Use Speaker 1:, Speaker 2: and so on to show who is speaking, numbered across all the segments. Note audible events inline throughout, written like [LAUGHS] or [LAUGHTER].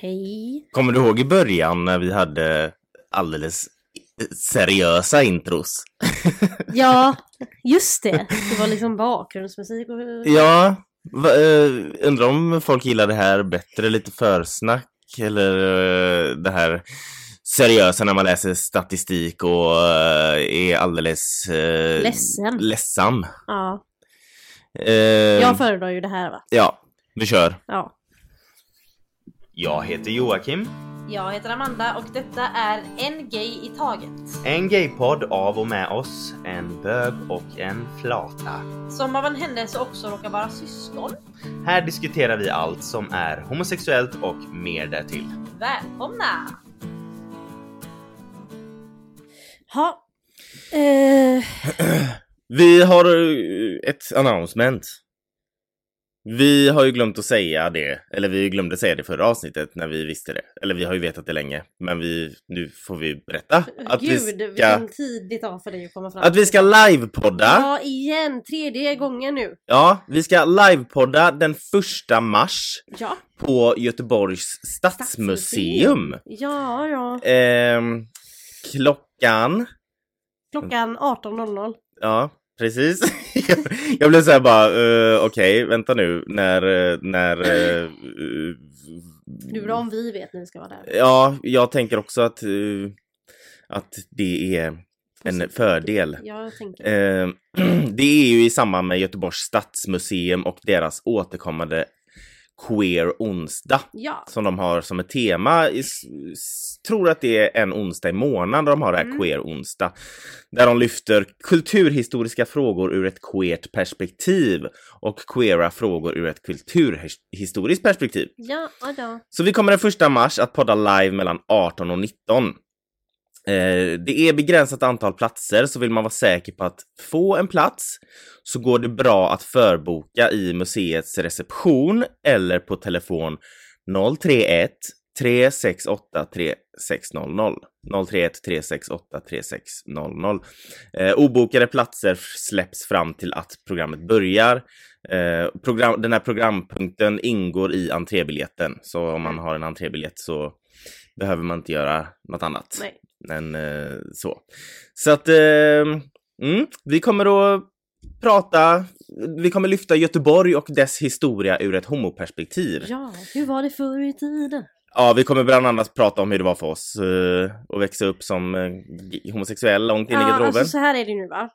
Speaker 1: Hej.
Speaker 2: [LAUGHS] Kommer du ihåg i början när vi hade alldeles seriösa intros?
Speaker 1: Ja, just det. Det var liksom bakgrundsmusik och...
Speaker 2: Ja, va, eh, undrar om folk gillar det här bättre, lite försnack eller eh, det här seriösa när man läser statistik och eh, är alldeles eh,
Speaker 1: Ledsen.
Speaker 2: ledsam.
Speaker 1: Ja.
Speaker 2: Eh,
Speaker 1: Jag föredrar ju det här va?
Speaker 2: Ja, vi kör.
Speaker 1: Ja.
Speaker 2: Jag heter Joakim.
Speaker 1: Jag heter Amanda och detta är En Gay i Taget.
Speaker 2: En gaypodd av och med oss, en bög och en flata.
Speaker 1: Som av en händelse också råkar vara syskon.
Speaker 2: Här diskuterar vi allt som är homosexuellt och mer därtill.
Speaker 1: Välkomna! Ja. Eh,
Speaker 2: Vi har eh, ett announcement. Vi har ju glömt att säga det, eller vi glömde säga det förra avsnittet när vi visste det. Eller vi har ju vetat det länge, men vi, nu får vi berätta att vi
Speaker 1: gud,
Speaker 2: ska,
Speaker 1: vilken tid det tar för dig att komma fram.
Speaker 2: att vi ska livepodda.
Speaker 1: Ja, igen. Tredje gången nu.
Speaker 2: Ja, vi ska livepodda den första mars
Speaker 1: Ja.
Speaker 2: på Göteborgs stadsmuseum.
Speaker 1: Stadsmuseum. Ja, ja.
Speaker 2: Ehm, klockan
Speaker 1: Klockan 18.00.
Speaker 2: Ja, precis. [LAUGHS] jag blev såhär bara, uh, okej, vänta nu, när, eh, när... eh, eh,
Speaker 1: Nu bra om vi vet när vi ska vara där.
Speaker 2: Ja, jag tänker också att, eh, att det är en
Speaker 1: Positivt.
Speaker 2: fördel.
Speaker 1: Ja, jag tänker.
Speaker 2: Eh, [CLEARS THROAT] det är ju i samband med Göteborgs stadsmuseum och deras återkommande Queer onsdag
Speaker 1: Ja,
Speaker 2: som de har som ett tema. I, s- s- tror att det är en onsdag i månaden de har det här
Speaker 1: Mm.
Speaker 2: Queer onsdag. Där de lyfter kulturhistoriska frågor ur ett queert perspektiv och queera frågor ur ett kulturhistoriskt perspektiv.
Speaker 1: ja, ja, ja.
Speaker 2: Så vi kommer den första mars att podda live mellan 18 och 19. Eh, Det är begränsat antal platser, så vill man vara säker på att få en plats så går det bra att förboka i museets reception eller på telefon 031 368 3600. 031 368 3600. Eh, obokade platser f- släpps fram till att programmet börjar. Eh, program, den här programpunkten ingår i entrébiljetten, så om man har en entrébiljett så behöver man inte göra något annat
Speaker 1: Nej.
Speaker 2: än eh, så. Så att eh, mm, vi kommer att prata, vi kommer lyfta Göteborg och dess historia ur ett homoperspektiv. Ja.
Speaker 1: Ja, hur var det förr i tiden?
Speaker 2: vi kommer bland annat prata om hur det var för oss eh, att växa upp som eh, g- homosexuell långt in i
Speaker 1: Ja,
Speaker 2: garderoben.
Speaker 1: alltså så här är det nu va.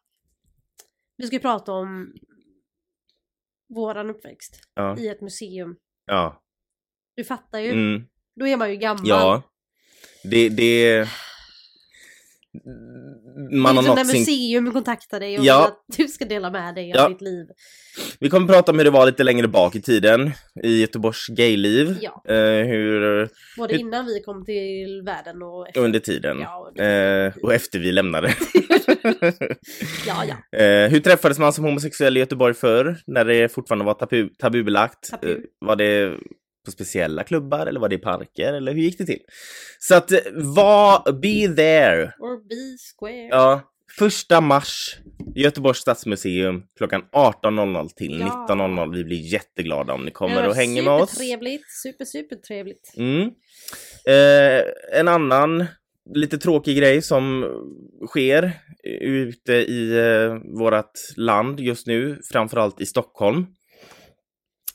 Speaker 1: Vi ska ju prata om våran uppväxt
Speaker 2: ja,
Speaker 1: i ett museum.
Speaker 2: ja.
Speaker 1: Du fattar ju.
Speaker 2: Mm.
Speaker 1: Då är man ju gammal.
Speaker 2: Ja. Det, det...
Speaker 1: det är
Speaker 2: Man har
Speaker 1: som när
Speaker 2: nått sin...
Speaker 1: museum kontaktar dig och
Speaker 2: Ja.
Speaker 1: vill att du ska dela med dig av
Speaker 2: Ja.
Speaker 1: ditt liv.
Speaker 2: Vi kommer prata om hur det var lite längre bak i tiden i Göteborgs gayliv.
Speaker 1: Ja.
Speaker 2: Eh, hur...
Speaker 1: Både
Speaker 2: Hur-
Speaker 1: innan vi kom till världen och efter.
Speaker 2: Under tiden.
Speaker 1: Ja, och det-
Speaker 2: Eh, och efter vi lämnade. [LAUGHS]
Speaker 1: ja, ja.
Speaker 2: eh, hur träffades man som homosexuell i Göteborg förr? När det fortfarande var tabu, tabubelagt?
Speaker 1: Tabu.
Speaker 2: Eh, var det på speciella klubbar eller var det i parker? Eller hur gick det till? Så att, eh, var, be there!
Speaker 1: Or be square.
Speaker 2: Ja, första mars, Göteborgs stadsmuseum klockan 18.00 till
Speaker 1: Ja.
Speaker 2: 19.00. Vi blir jätteglada om ni
Speaker 1: Det
Speaker 2: kommer
Speaker 1: var
Speaker 2: och hänger med oss.
Speaker 1: Supertrevligt, super, supertrevligt.
Speaker 2: Mm. Eh, en annan lite tråkig grej som sker ute i eh, vårt land just nu, framförallt i Stockholm.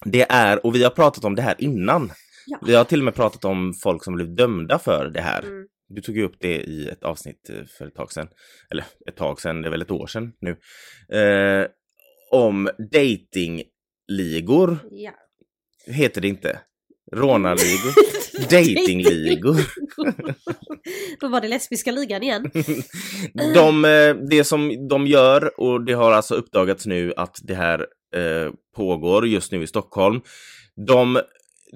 Speaker 2: Det är, och vi har pratat om det här innan.
Speaker 1: Ja.
Speaker 2: Vi har till och med pratat om folk som blev dömda för det här.
Speaker 1: Mm.
Speaker 2: Du tog ju upp det i ett avsnitt eh, för ett tag sedan. Eller ett tag sedan, det är väl ett år sedan nu. Eh, om datingligor
Speaker 1: Ja.
Speaker 2: heter det inte. Rånarligor. Datingligor.
Speaker 1: [LAUGHS] Då var det lesbiska ligan igen.
Speaker 2: Mm. de, eh, det som de gör, och det har alltså uppdagats nu att det här eh, pågår just nu i Stockholm. De,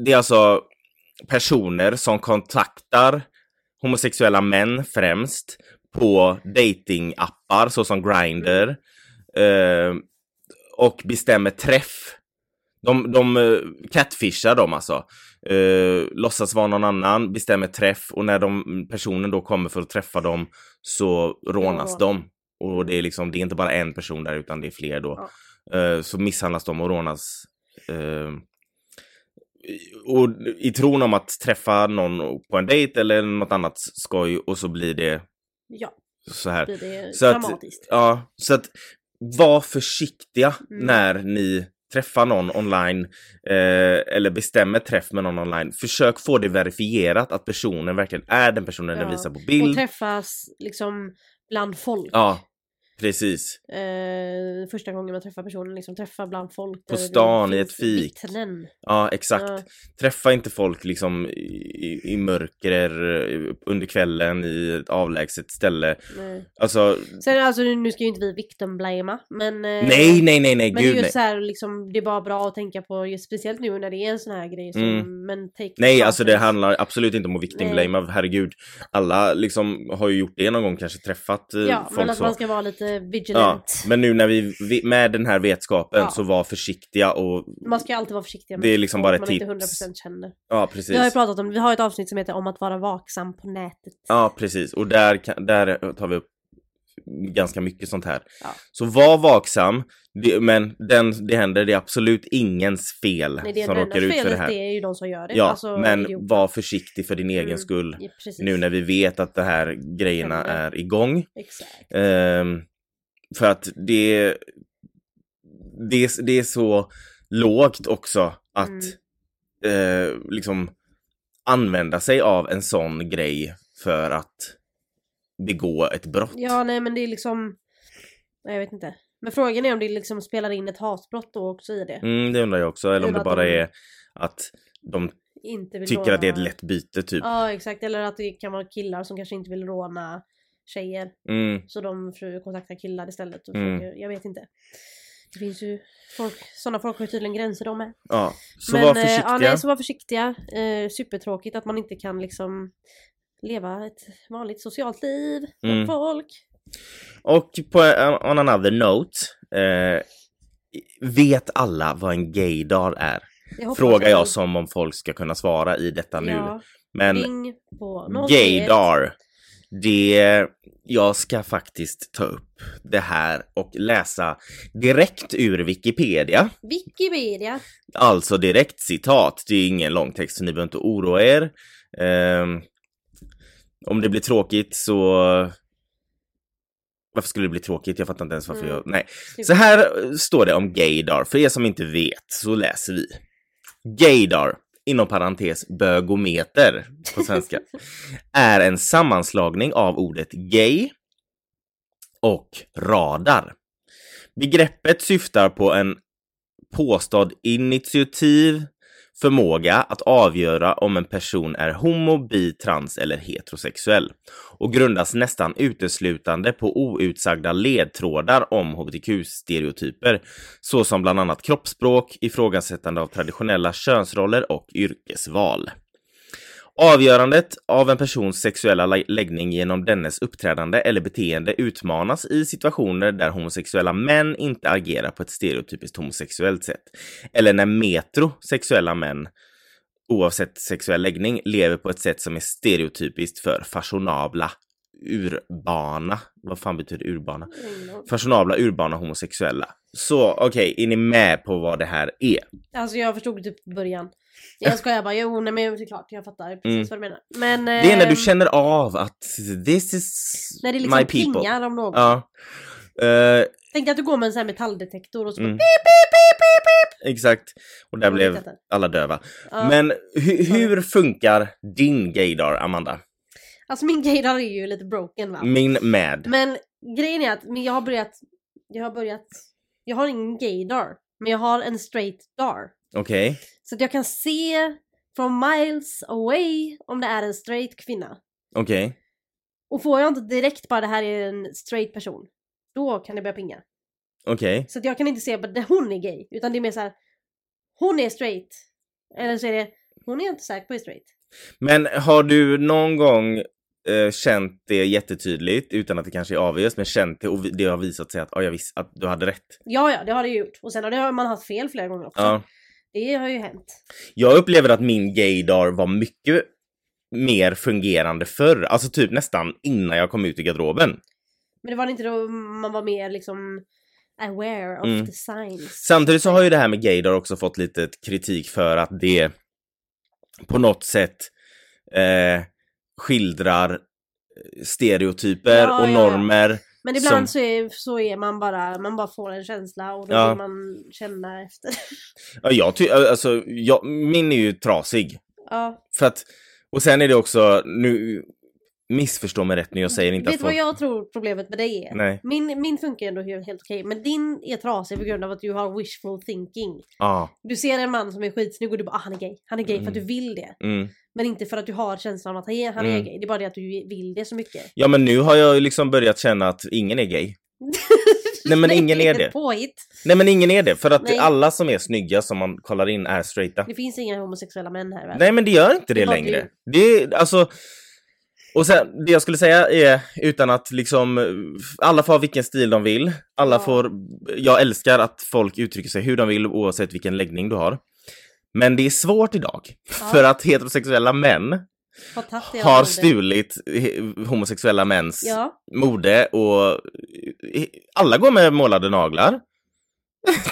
Speaker 2: det är alltså personer som kontaktar homosexuella män främst på datingappar såsom Grindr eh, och bestämmer träff. De, de eh, catfishar dem alltså. Eh, låtsas vara någon annan, bestämmer träff och när de, personen då kommer för att träffa dem så rånas
Speaker 1: Ja.
Speaker 2: de. Och det är liksom, det är inte bara en person där utan det är fler då. Eh, så misshandlas de och rånas. Eh, och i tron om att träffa någon på en dejt eller något annat skoj och så blir det
Speaker 1: Ja,
Speaker 2: så här.
Speaker 1: blir det
Speaker 2: Så att-
Speaker 1: dramatiskt.
Speaker 2: Ja, så att var försiktiga
Speaker 1: Mm.
Speaker 2: när ni träffar någon online eh, eller bestämmer träff med någon online. Försök få det verifierat att personen verkligen är den personen den
Speaker 1: Ja.
Speaker 2: visar på
Speaker 1: Och
Speaker 2: bild.
Speaker 1: träffas liksom bland folk.
Speaker 2: Ja, precis.
Speaker 1: Eh, första gången man träffar personen, liksom träffa bland folk.
Speaker 2: På
Speaker 1: där det
Speaker 2: stan, i
Speaker 1: finns
Speaker 2: ett fik.
Speaker 1: Vittnen.
Speaker 2: Ja, exakt.
Speaker 1: Ja.
Speaker 2: Träffa inte folk liksom i, i- i mörker eh, under kvällen i ett avlägset ställe.
Speaker 1: Nej.
Speaker 2: Alltså,
Speaker 1: Eh, Sen alltså nu nu ska ju inte vi victim blamea, men... eh,
Speaker 2: nej, nej, nej, nej,
Speaker 1: Men det är
Speaker 2: gud
Speaker 1: ju
Speaker 2: nej.
Speaker 1: så här, liksom, det är bara bra att tänka på, just speciellt nu när det är en sån här grej som,
Speaker 2: Mm.
Speaker 1: men take
Speaker 2: Nej,
Speaker 1: the
Speaker 2: alltså det
Speaker 1: process.
Speaker 2: handlar absolut inte om att victim
Speaker 1: Nej.
Speaker 2: blame, av- herregud. Alla liksom har ju gjort det någon gång, kanske träffat eh,
Speaker 1: Ja,
Speaker 2: folk
Speaker 1: men att
Speaker 2: så.
Speaker 1: man ska vara lite
Speaker 2: Ja,
Speaker 1: vigilant.
Speaker 2: men nu när vi, vi med den här vetskapen
Speaker 1: Ja.
Speaker 2: så var försiktiga och
Speaker 1: Man ska ju alltid vara försiktig med
Speaker 2: Det är liksom
Speaker 1: folk
Speaker 2: bara ett
Speaker 1: man
Speaker 2: tips.
Speaker 1: inte 100% känner.
Speaker 2: ja
Speaker 1: Vi har ju
Speaker 2: precis.
Speaker 1: pratat om, vi har ett avsnitt som heter om att vara vaksam på nätet.
Speaker 2: Ja precis och där, kan- där tar vi upp ganska mycket sånt här.
Speaker 1: Ja.
Speaker 2: Så var vaksam, det, men den, det händer, det är absolut ingens fel
Speaker 1: Nej, det
Speaker 2: som
Speaker 1: enda
Speaker 2: råkar ut för det
Speaker 1: felet
Speaker 2: här.
Speaker 1: det är ju de som gör det.
Speaker 2: ja,
Speaker 1: alltså,
Speaker 2: men
Speaker 1: idioter.
Speaker 2: var försiktig för din
Speaker 1: Mm.
Speaker 2: egen skull
Speaker 1: Ja, precis.
Speaker 2: nu när vi vet att de här grejerna
Speaker 1: Händer.
Speaker 2: är igång.
Speaker 1: Exakt.
Speaker 2: Ehm, för att det, det, är- det är så lågt också att
Speaker 1: Mm.
Speaker 2: eh, liksom använda sig av en sån grej för att begå ett brott.
Speaker 1: Ja, nej men det är liksom... Nej, jag vet inte. Men frågan är om det liksom spelar in ett hatbrott då också i det.
Speaker 2: Mm, det undrar jag också, eller om
Speaker 1: Eller
Speaker 2: det
Speaker 1: att
Speaker 2: bara
Speaker 1: de
Speaker 2: är att de
Speaker 1: Inte vill
Speaker 2: tycker att det är ett
Speaker 1: råna-
Speaker 2: lätt byte typ.
Speaker 1: Ja, exakt. Eller att det kan vara killar som kanske inte vill råna tjejer.
Speaker 2: Mm,
Speaker 1: Så de försöker kontakta killar istället. Och
Speaker 2: Mm.
Speaker 1: försöker, jag vet inte. Det finns ju folk, sådana folk har ju tydligen gränser de med.
Speaker 2: ja. Så
Speaker 1: Men,
Speaker 2: var
Speaker 1: eh,
Speaker 2: försiktiga.
Speaker 1: Ja, nej, så var försiktiga. Eh, supertråkigt att man inte kan liksom leva ett vanligt socialt liv med
Speaker 2: Mm.
Speaker 1: folk.
Speaker 2: Och på eh, on another note, eh, vet alla vad en gaydag är?
Speaker 1: Jag hoppas
Speaker 2: Frågar
Speaker 1: att
Speaker 2: jag
Speaker 1: ni-
Speaker 2: som om folk ska kunna svara i detta nu.
Speaker 1: Ja,
Speaker 2: Men
Speaker 1: ring på 031.
Speaker 2: gaydar, det... Jag ska faktiskt ta upp det här och läsa direkt ur Wikipedia.
Speaker 1: Wikipedia.
Speaker 2: Alltså direkt citat. Det är ingen lång text så ni behöver inte oroa er. Ehm, om det blir tråkigt så... Varför skulle det bli tråkigt? Jag fattar inte ens varför
Speaker 1: Mm.
Speaker 2: jag... Nej.
Speaker 1: Typ.
Speaker 2: Så här eh, står det om gaydar. För er som inte vet så läser vi. Gaydar, inom parentes bögometer på svenska, är en sammanslagning av ordet gay och radar. Begreppet syftar på en påstådd initiativ förmåga att avgöra om en person är homo, bi, trans eller heterosexuell och grundas nästan uteslutande på outsagda ledtrådar om hbtq-stereotyper såsom bland annat kroppsspråk, ifrågasättande av traditionella könsroller och yrkesval. Avgörandet av en persons sexuella lä- läggning genom dennes uppträdande eller beteende utmanas i situationer där homosexuella män inte agerar på ett stereotypiskt homosexuellt sätt. Eller när metrosexuella män, oavsett sexuell läggning, lever på ett sätt som är stereotypiskt för fashionabla, urbana. Vad fan betyder urbana?
Speaker 1: Ring någon.
Speaker 2: Fashionabla, urbana homosexuella. Så okej, är ni med på vad det här är?
Speaker 1: Alltså jag förstod typ början. Jag skojar bara, jo nej men såklart jag fattar precis vad du menar. Men...
Speaker 2: Mm. Det är när du
Speaker 1: ehm,
Speaker 2: känner av att this is
Speaker 1: När det liksom
Speaker 2: my people.
Speaker 1: plingar om något.
Speaker 2: Ja. Eh,
Speaker 1: Tänk dig att du går med en sån här metalldetektor och så
Speaker 2: Mm.
Speaker 1: bara pip, pip, pip, pip,
Speaker 2: exakt. Och där
Speaker 1: Jag vet
Speaker 2: blev
Speaker 1: inte.
Speaker 2: alla döva.
Speaker 1: Ja.
Speaker 2: Men hu-
Speaker 1: sorry.
Speaker 2: hur funkar din gaydar, Amanda?
Speaker 1: Alltså min gaydar är ju lite broken va.
Speaker 2: Min med.
Speaker 1: Men grejen är att men jag har börjat, jag har börjat, jag har ingen gaydar. Men jag har en straight dar.
Speaker 2: Okej.
Speaker 1: Så att jag kan se från miles away om det är en straight kvinna.
Speaker 2: Okej.
Speaker 1: Och får jag inte direkt bara det här är en straight person. Då kan det börja pinga.
Speaker 2: Okej.
Speaker 1: Så att jag kan inte se att det- hon är gay. Utan det är mer så här. hon är straight. Eller så är det, hon är jag inte säker på är straight.
Speaker 2: Men har du någon gång eh, känt det jättetydligt utan att det kanske är avgörs, men känt det och vi- det har visat sig att, ja, jag visste att du hade rätt?
Speaker 1: Ja, ja, det har det ju gjort. Och sen har det, man haft fel flera gånger också.
Speaker 2: Ja.
Speaker 1: Det har ju hänt.
Speaker 2: Jag upplever att min gaydar var mycket mer fungerande förr, alltså typ nästan innan jag kom ut i garderoben.
Speaker 1: Men det var inte då man var mer liksom aware of
Speaker 2: Mm.
Speaker 1: the signs.
Speaker 2: Samtidigt så har ju det här med gaydar också fått lite kritik för att det på något sätt eh, skildrar eh, stereotyper
Speaker 1: Ja,
Speaker 2: och
Speaker 1: ja.
Speaker 2: normer.
Speaker 1: Men ibland
Speaker 2: Som-
Speaker 1: så, är, så är man bara, man bara får en känsla och då
Speaker 2: Ja.
Speaker 1: vill man känna efter. [LAUGHS]
Speaker 2: Ja, jag ty- alltså, jag, min är ju trasig.
Speaker 1: ja.
Speaker 2: För att, och sen är det också, nu missförstå mig rätt nu, jag säger inte
Speaker 1: Vet
Speaker 2: att
Speaker 1: du vad jag tror problemet med dig är?
Speaker 2: Nej.
Speaker 1: Min, min funkar ändå helt helt okej, men din är trasig på grund av att du har wishful thinking.
Speaker 2: Ja.
Speaker 1: Du ser en man som är skitsnygg och du bara ah, han är gay, han är gay för att du vill det.
Speaker 2: Mm.
Speaker 1: Men inte för att du har känslan av att han är, han är
Speaker 2: Mm.
Speaker 1: gay, det är bara det att du vill det så mycket.
Speaker 2: Ja men nu har jag ju liksom börjat känna att ingen är gay. Nej, men ingen är
Speaker 1: ett
Speaker 2: det.
Speaker 1: Påhitt.
Speaker 2: Nej men ingen är det, för att
Speaker 1: Nej.
Speaker 2: alla som är snygga som man kollar in är straighta.
Speaker 1: Det finns inga homosexuella män här i världen.
Speaker 2: Nej men det gör inte det,
Speaker 1: Det var
Speaker 2: längre. Det är alltså... Och sen, det jag skulle säga är, utan att liksom, eh, alla får ha vilken stil de vill. Alla
Speaker 1: Ja.
Speaker 2: får, jag älskar att folk uttrycker sig hur de vill oavsett vilken läggning du har. Men det är svårt idag,
Speaker 1: Ja.
Speaker 2: för att heterosexuella män
Speaker 1: har, tagit det av
Speaker 2: har
Speaker 1: ordet.
Speaker 2: stulit he- homosexuella mäns
Speaker 1: Ja,
Speaker 2: mode och eh, alla går med målade
Speaker 1: [LAUGHS]
Speaker 2: naglar.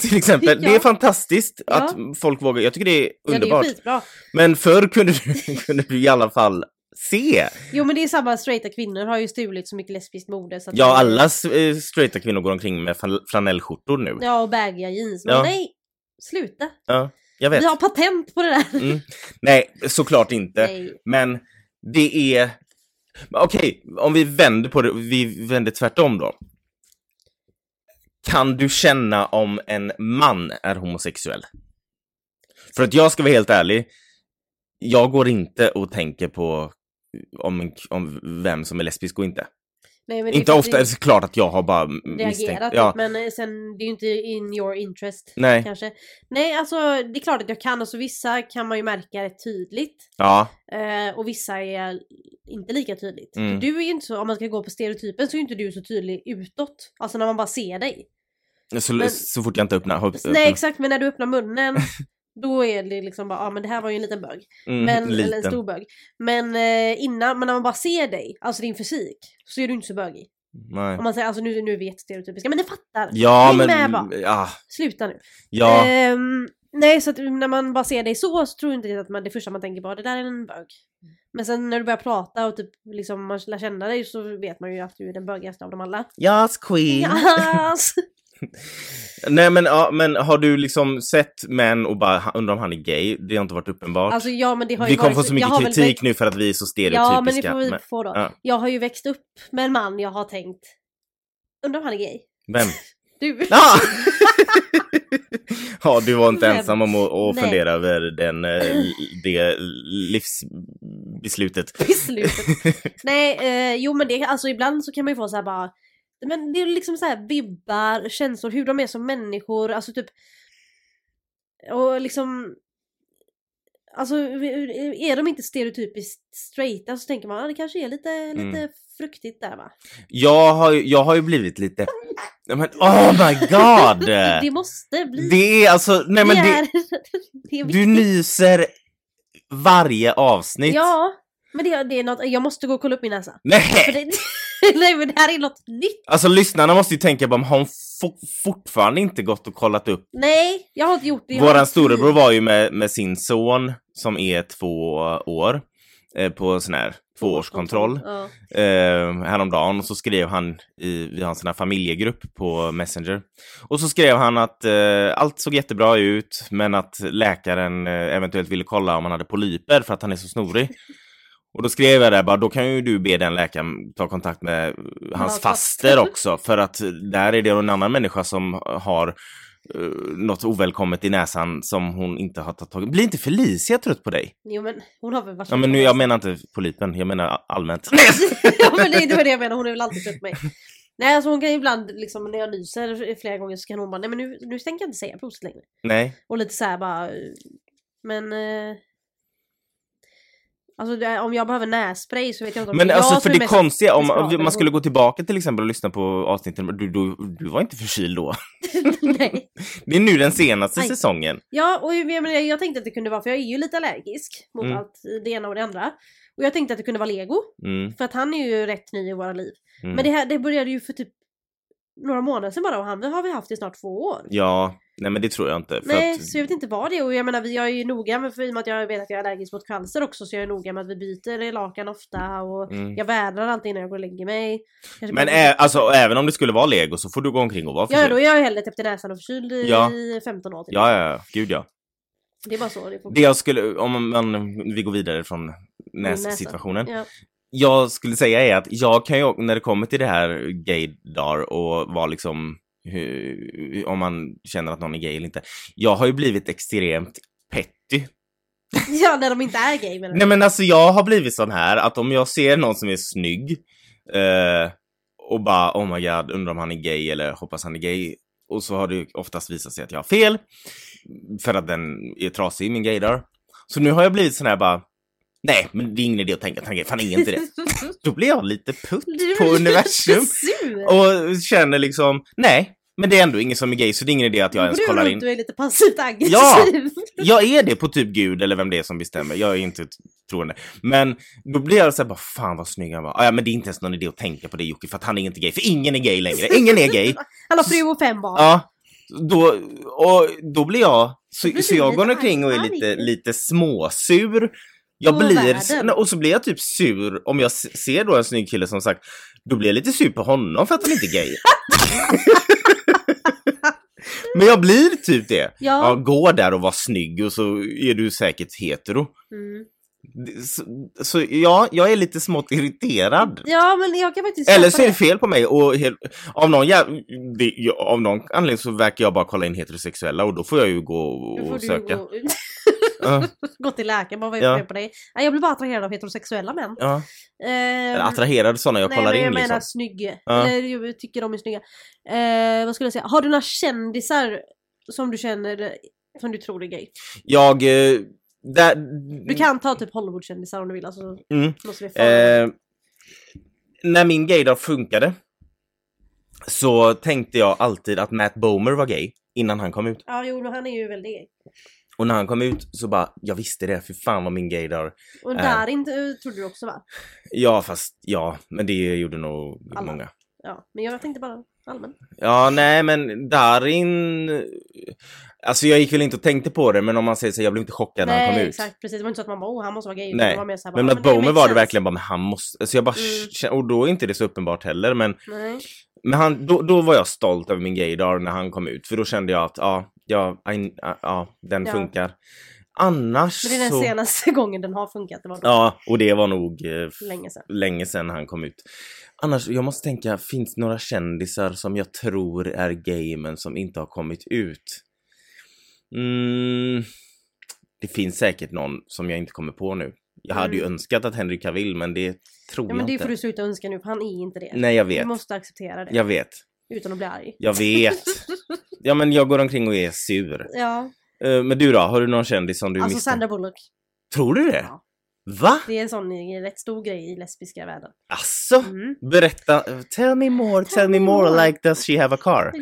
Speaker 2: Till exempel. Det är
Speaker 1: Ja.
Speaker 2: fantastiskt
Speaker 1: Ja.
Speaker 2: att folk vågar. Jag tycker det är
Speaker 1: ja det är
Speaker 2: underbart.
Speaker 1: ju skitbra.
Speaker 2: Men förr kunde du, [LAUGHS] kunde du i alla fall se.
Speaker 1: Jo men det är samma, straighta kvinnor har ju stulit så mycket lesbiskt mode. Så att
Speaker 2: Ja, alla s- eh, straighta kvinnor går omkring med flan- flanellskjortor nu.
Speaker 1: Ja, och baggiga jeans. Men
Speaker 2: Ja.
Speaker 1: nej, sluta.
Speaker 2: Jag vet.
Speaker 1: Vi har patent på det där.
Speaker 2: Mm, Nej, såklart inte.
Speaker 1: Nej.
Speaker 2: Men det är... Okej, om vi vänder på det, vi vänder tvärtom då. Kan du känna om en man är homosexuell? För att jag ska vara helt ärlig, jag går inte och tänker på om, en, om vem som är lesbisk och inte.
Speaker 1: nej men det är
Speaker 2: inte
Speaker 1: för att
Speaker 2: ofta,
Speaker 1: du
Speaker 2: är det klart att jag har bara m- misstänkt.
Speaker 1: reagerat
Speaker 2: Ja,
Speaker 1: men eh, sen det är ju inte in your interest
Speaker 2: nej,
Speaker 1: kanske. Nej alltså det är klart att jag kan, alltså vissa kan man ju märka rätt tydligt.
Speaker 2: ja,
Speaker 1: Eh, och vissa är inte lika tydligt.
Speaker 2: Mm.
Speaker 1: För du är ju inte så, om man ska gå på stereotypen så är ju inte du så tydlig utåt. Alltså när man bara ser dig.
Speaker 2: så,
Speaker 1: Men-
Speaker 2: så fort jag inte öppnar. hopp-
Speaker 1: Nej exakt men när du öppnar
Speaker 2: [LAUGHS]
Speaker 1: munnen då är det liksom bara, ja ah, men det här var ju en liten bög.
Speaker 2: Mm,
Speaker 1: Men, eller en
Speaker 2: liten.
Speaker 1: stor bög. Men eh, innan, men när man bara ser dig, alltså din fysik, så är du inte så bögig.
Speaker 2: Nej.
Speaker 1: Om man säger, alltså nu, nu vet stereotypiska, men ni fattar.
Speaker 2: Ja,
Speaker 1: Häng med
Speaker 2: men...
Speaker 1: bara.
Speaker 2: Ja,
Speaker 1: Sluta nu.
Speaker 2: ja.
Speaker 1: Ehm, nej, så att när man bara ser dig så, så tror jag inte det att man, det första man tänker på, "Ah, det där är en bög.
Speaker 2: Mm.
Speaker 1: Men sen när du börjar prata och typ liksom man lär känna dig så vet man ju att du är den bögigaste av dem alla.
Speaker 2: Yes, queen. [LAUGHS]
Speaker 1: Yes.
Speaker 2: Nej men, ja, men har du liksom sett män och bara "Han- undrar om han är gay? Det har inte varit uppenbart.
Speaker 1: Alltså ja men det har ju
Speaker 2: vi kommer
Speaker 1: varit
Speaker 2: få så mycket
Speaker 1: jag har väl
Speaker 2: kritik
Speaker 1: växt-
Speaker 2: nu för att vi är så stereotypiska.
Speaker 1: Ja men det får vi
Speaker 2: men-
Speaker 1: få då.
Speaker 2: ja.
Speaker 1: Jag har ju växt upp med en man jag har tänkt, undrar om han är gay?
Speaker 2: Vem?
Speaker 1: [LAUGHS]
Speaker 2: [LAUGHS]
Speaker 1: Du!
Speaker 2: Ah! ja, du var inte
Speaker 1: Vem?
Speaker 2: ensam om att, att
Speaker 1: Nej.
Speaker 2: fundera över den, eh, l- det livsbeslutet.
Speaker 1: beslutet. Nej, eh, jo men det, alltså ibland så kan man ju få så här bara, men det är liksom så här vibbar, känslor, hur de är som människor, alltså typ, och liksom, alltså är de inte stereotypiskt straighta så tänker man, ah, det kanske är lite,
Speaker 2: Mm.
Speaker 1: lite fruktigt där va?
Speaker 2: Jag har, ju- jag har ju blivit lite... Nej, Men, oh my god!
Speaker 1: [LAUGHS] Det måste bli, det,
Speaker 2: Äh. Det är alltså, nej men det,
Speaker 1: är, [LAUGHS] det är
Speaker 2: du nyser varje avsnitt.
Speaker 1: Ja, men det, det är något, jag måste gå och kolla upp min näsa.
Speaker 2: Nej!
Speaker 1: För det, [LAUGHS] nej men det här är något nytt.
Speaker 2: Alltså lyssnarna måste ju tänka på om har hon fo- fortfarande inte gått och kollat upp.
Speaker 1: Nej, jag har inte gjort det. Jag har
Speaker 2: Våran
Speaker 1: inte
Speaker 2: storebror
Speaker 1: tid.
Speaker 2: var ju med, med sin son som är två år eh, på sån här tvåårskontroll
Speaker 1: Ja.
Speaker 2: eh, häromdagen och så skrev han i, vi har en sån här familjegrupp på Messenger. Och så skrev han att eh, allt såg jättebra ut men att läkaren eh, eventuellt ville kolla om han hade polyper för att han är så snorig. Och då skrev jag där bara, då kan ju du be den läkaren ta kontakt med eh, hans
Speaker 1: Hans
Speaker 2: faster också för att där är det en annan människa som har eh, något ovälkommet i näsan som hon inte har tagit tag i. Blir inte Felicia trött på dig?
Speaker 1: Jo men hon har väl varit
Speaker 2: Ja men nu, jag menar inte polypen, jag menar allmänt.
Speaker 1: [LAUGHS] ja men det är inte vad jag menar, hon har väl alltid trött mig. Nej alltså hon kan ju ibland liksom när jag nyser flera gånger så kan hon bara nej men nu, nu tänker jag inte säga prosit längre.
Speaker 2: Nej.
Speaker 1: Och lite såhär bara eh, men eh, Alltså det är- om jag behöver nässpray så vet jag inte om
Speaker 2: Men
Speaker 1: det är
Speaker 2: alltså
Speaker 1: jag
Speaker 2: för
Speaker 1: som
Speaker 2: det
Speaker 1: är mest
Speaker 2: konstiga, om
Speaker 1: desperat, eller
Speaker 2: man
Speaker 1: hon.
Speaker 2: skulle gå tillbaka till exempel och lyssna på avsnitten, men du, du, du var inte förkyld då. [LAUGHS]
Speaker 1: [LAUGHS] Nej.
Speaker 2: Det är nu den senaste
Speaker 1: Aj.
Speaker 2: säsongen.
Speaker 1: Ja, och jag, menar, jag tänkte att det kunde vara, för jag är ju lite allergisk mot
Speaker 2: Mm.
Speaker 1: allt det ena och det andra. Och jag tänkte att det kunde vara lego,
Speaker 2: Mm,
Speaker 1: för att han är ju rätt ny i våra liv.
Speaker 2: mm.
Speaker 1: Men det här det började ju för typ några månader sedan bara och han har vi haft i snart två år.
Speaker 2: Ja, nej men det tror jag inte. För
Speaker 1: Nej,
Speaker 2: att,
Speaker 1: så jag vet inte vad det är och jag menar vi- jag är ju noga med, för i och med att jag vet att jag är allergisk mot cancer också så jag är noga med att vi byter lakan ofta och
Speaker 2: mm.
Speaker 1: jag vädrar alltid innan jag går och lägger mig. Kanske
Speaker 2: Men
Speaker 1: bara-
Speaker 2: ä- alltså, även om det skulle vara lego så får du gå omkring och vara
Speaker 1: Ja,
Speaker 2: förkyld.
Speaker 1: då är jag ju hellre täppt i näsan och förkyld i
Speaker 2: Ja.
Speaker 1: 15 år. Typ.
Speaker 2: Ja, ja, ja. Gud ja.
Speaker 1: Det är bara så. Det får...
Speaker 2: Det jag skulle, om man, vi går vidare från
Speaker 1: näsan.
Speaker 2: nässituationen.
Speaker 1: Ja.
Speaker 2: Jag skulle säga är att jag kan ju, när det kommer till det här gaydar och vad liksom, hur, om man känner att någon är gay eller inte. Jag har ju blivit extremt petty
Speaker 1: [LAUGHS] ja, när de inte är gay menar
Speaker 2: Nej men alltså jag har blivit sån här att om jag ser någon som är snygg eh, och bara oh my god undrar om han är gay eller hoppas han är gay och så har det ju oftast visat sig att jag har fel för att den är trasig min gaydar. Så nu har jag blivit sån här bara nej men det är ingen idé att tänka att han är gay, för han är
Speaker 1: [LAUGHS]
Speaker 2: inte det. Då blir jag lite putt
Speaker 1: Du blir lite
Speaker 2: på universum
Speaker 1: sur.
Speaker 2: och känner liksom nej men det är ändå ingen som är gay så det är ingen idé att jag ens
Speaker 1: Du
Speaker 2: kollar
Speaker 1: runt
Speaker 2: in.
Speaker 1: och är lite passivt aggressiv.
Speaker 2: Ja! Jag är det på typ gud eller vem det är som bestämmer. Jag är inte t- troende. Men då blir jag så här bara, fan vad snygg han var. Ah, ja, men det är inte ens någon idé att tänka på det Jocke, för att han är inte gay. För ingen är gay längre. Ingen
Speaker 1: [LAUGHS]
Speaker 2: är gay.
Speaker 1: Han har fru och fem barn.
Speaker 2: Ja. Då, och då blir jag, så,
Speaker 1: Då blir
Speaker 2: så
Speaker 1: du
Speaker 2: jag
Speaker 1: lite
Speaker 2: går omkring och är
Speaker 1: arg.
Speaker 2: lite, lite småsur. Jag
Speaker 1: På
Speaker 2: blir,
Speaker 1: världen.
Speaker 2: nej, och så blir jag typ sur om jag s- ser då en snygg kille som sagt, då blir jag lite sur på honom för att han inte
Speaker 1: [LAUGHS]
Speaker 2: är gay. Men jag blir typ det. Ja,
Speaker 1: Ja.
Speaker 2: gå där och var snygg och så är du säkert hetero.
Speaker 1: Mm.
Speaker 2: Det- Så, så ja, jag är lite smått irriterad.
Speaker 1: ja, men jag kan faktiskt
Speaker 2: Eller
Speaker 1: köpa
Speaker 2: så är det fel på mig och helt, av, någon jäv, det, ja, av någon anledning så verkar jag bara kolla in heterosexuella och då får jag ju gå
Speaker 1: Då
Speaker 2: och,
Speaker 1: får du
Speaker 2: söka.
Speaker 1: Gå, [LAUGHS]
Speaker 2: Ja,
Speaker 1: gå till läkaren, bara vad är det
Speaker 2: Ja.
Speaker 1: fel på dig? Nej, jag blir bara attraherad av heterosexuella män. [LAUGHS]
Speaker 2: ja.
Speaker 1: Ehm,
Speaker 2: Eller attraherad sådana jag
Speaker 1: nej,
Speaker 2: kollar
Speaker 1: men
Speaker 2: in
Speaker 1: jag menar
Speaker 2: liksom.
Speaker 1: snygga.
Speaker 2: Ja.
Speaker 1: Eller jag tycker de är snygga. Ehm, vad skulle jag säga? Har du några kändisar som du känner eh, som du tror är gay?
Speaker 2: Jag... eh, Där,
Speaker 1: Du kan ta typ Hollywoodkändisar om du vill. Alltså,
Speaker 2: Mm.
Speaker 1: måste vi få-
Speaker 2: Eh, när min gaydar funkade så tänkte jag alltid att Matt Bomer var gay innan han kom ut.
Speaker 1: Ja, jo, men han är ju väldigt gay.
Speaker 2: Och när han kom ut så bara, jag visste det, för fan vad min gaydar.
Speaker 1: Och
Speaker 2: Eh.
Speaker 1: där inte eh, trodde du också va?
Speaker 2: Ja fast, ja, men det gjorde nog
Speaker 1: Alla.
Speaker 2: många.
Speaker 1: Ja, men jag tänkte bara allmänt.
Speaker 2: Ja, nej men Darin... Alltså jag gick väl inte och tänkte på det, men om man säger så, jag blev inte chockad när han kom
Speaker 1: Nej,
Speaker 2: ut.
Speaker 1: exakt. Precis, det var inte så att man bara oh, han måste vara gay.
Speaker 2: Nej,
Speaker 1: utan det var mer så här, bara,
Speaker 2: Men
Speaker 1: "Ja,
Speaker 2: Matt
Speaker 1: det
Speaker 2: Bomer
Speaker 1: makes
Speaker 2: var det
Speaker 1: sense."
Speaker 2: verkligen bara, men han måste... Alltså jag bara,
Speaker 1: Mm.
Speaker 2: sh- och då är inte det så uppenbart heller, men
Speaker 1: Nej.
Speaker 2: Men han, då, då var jag stolt över min gaydar när han kom ut, för då kände jag att ja, ja, I, ja den
Speaker 1: Ja.
Speaker 2: funkar. Annars
Speaker 1: Men det är den
Speaker 2: så...
Speaker 1: senaste [LAUGHS] gången den har funkat. Det var
Speaker 2: Ja, och det var nog eh, f-
Speaker 1: länge sedan.
Speaker 2: länge sedan han kom ut. Annars, jag måste tänka, finns det några kändisar som jag tror är gay men som inte har kommit ut? Mm, det finns säkert någon som jag inte kommer på nu. Jag hade ju
Speaker 1: Mm.
Speaker 2: önskat att Henry Cavill, men det tror
Speaker 1: Ja,
Speaker 2: jag
Speaker 1: men det
Speaker 2: inte.
Speaker 1: får du sluta önska nu för han är inte det.
Speaker 2: Nej, jag
Speaker 1: Du
Speaker 2: vet.
Speaker 1: måste acceptera det
Speaker 2: Jag vet.
Speaker 1: utan att bli arg.
Speaker 2: Jag
Speaker 1: [LAUGHS]
Speaker 2: vet. Ja men jag går omkring och är sur.
Speaker 1: Ja,
Speaker 2: Eh, Men du då, har du någon kändis som du
Speaker 1: alltså
Speaker 2: misstänker?
Speaker 1: Sandra Bullock.
Speaker 2: Tror du det?
Speaker 1: Ja.
Speaker 2: Va?
Speaker 1: Det är en sån eh, rätt stor grej i lesbiska
Speaker 2: [LAUGHS]
Speaker 1: världen.
Speaker 2: Asså?
Speaker 1: Mm.
Speaker 2: Alltså,
Speaker 1: [LAUGHS]
Speaker 2: Berätta, tell me more, tell, me more, like does she have a car?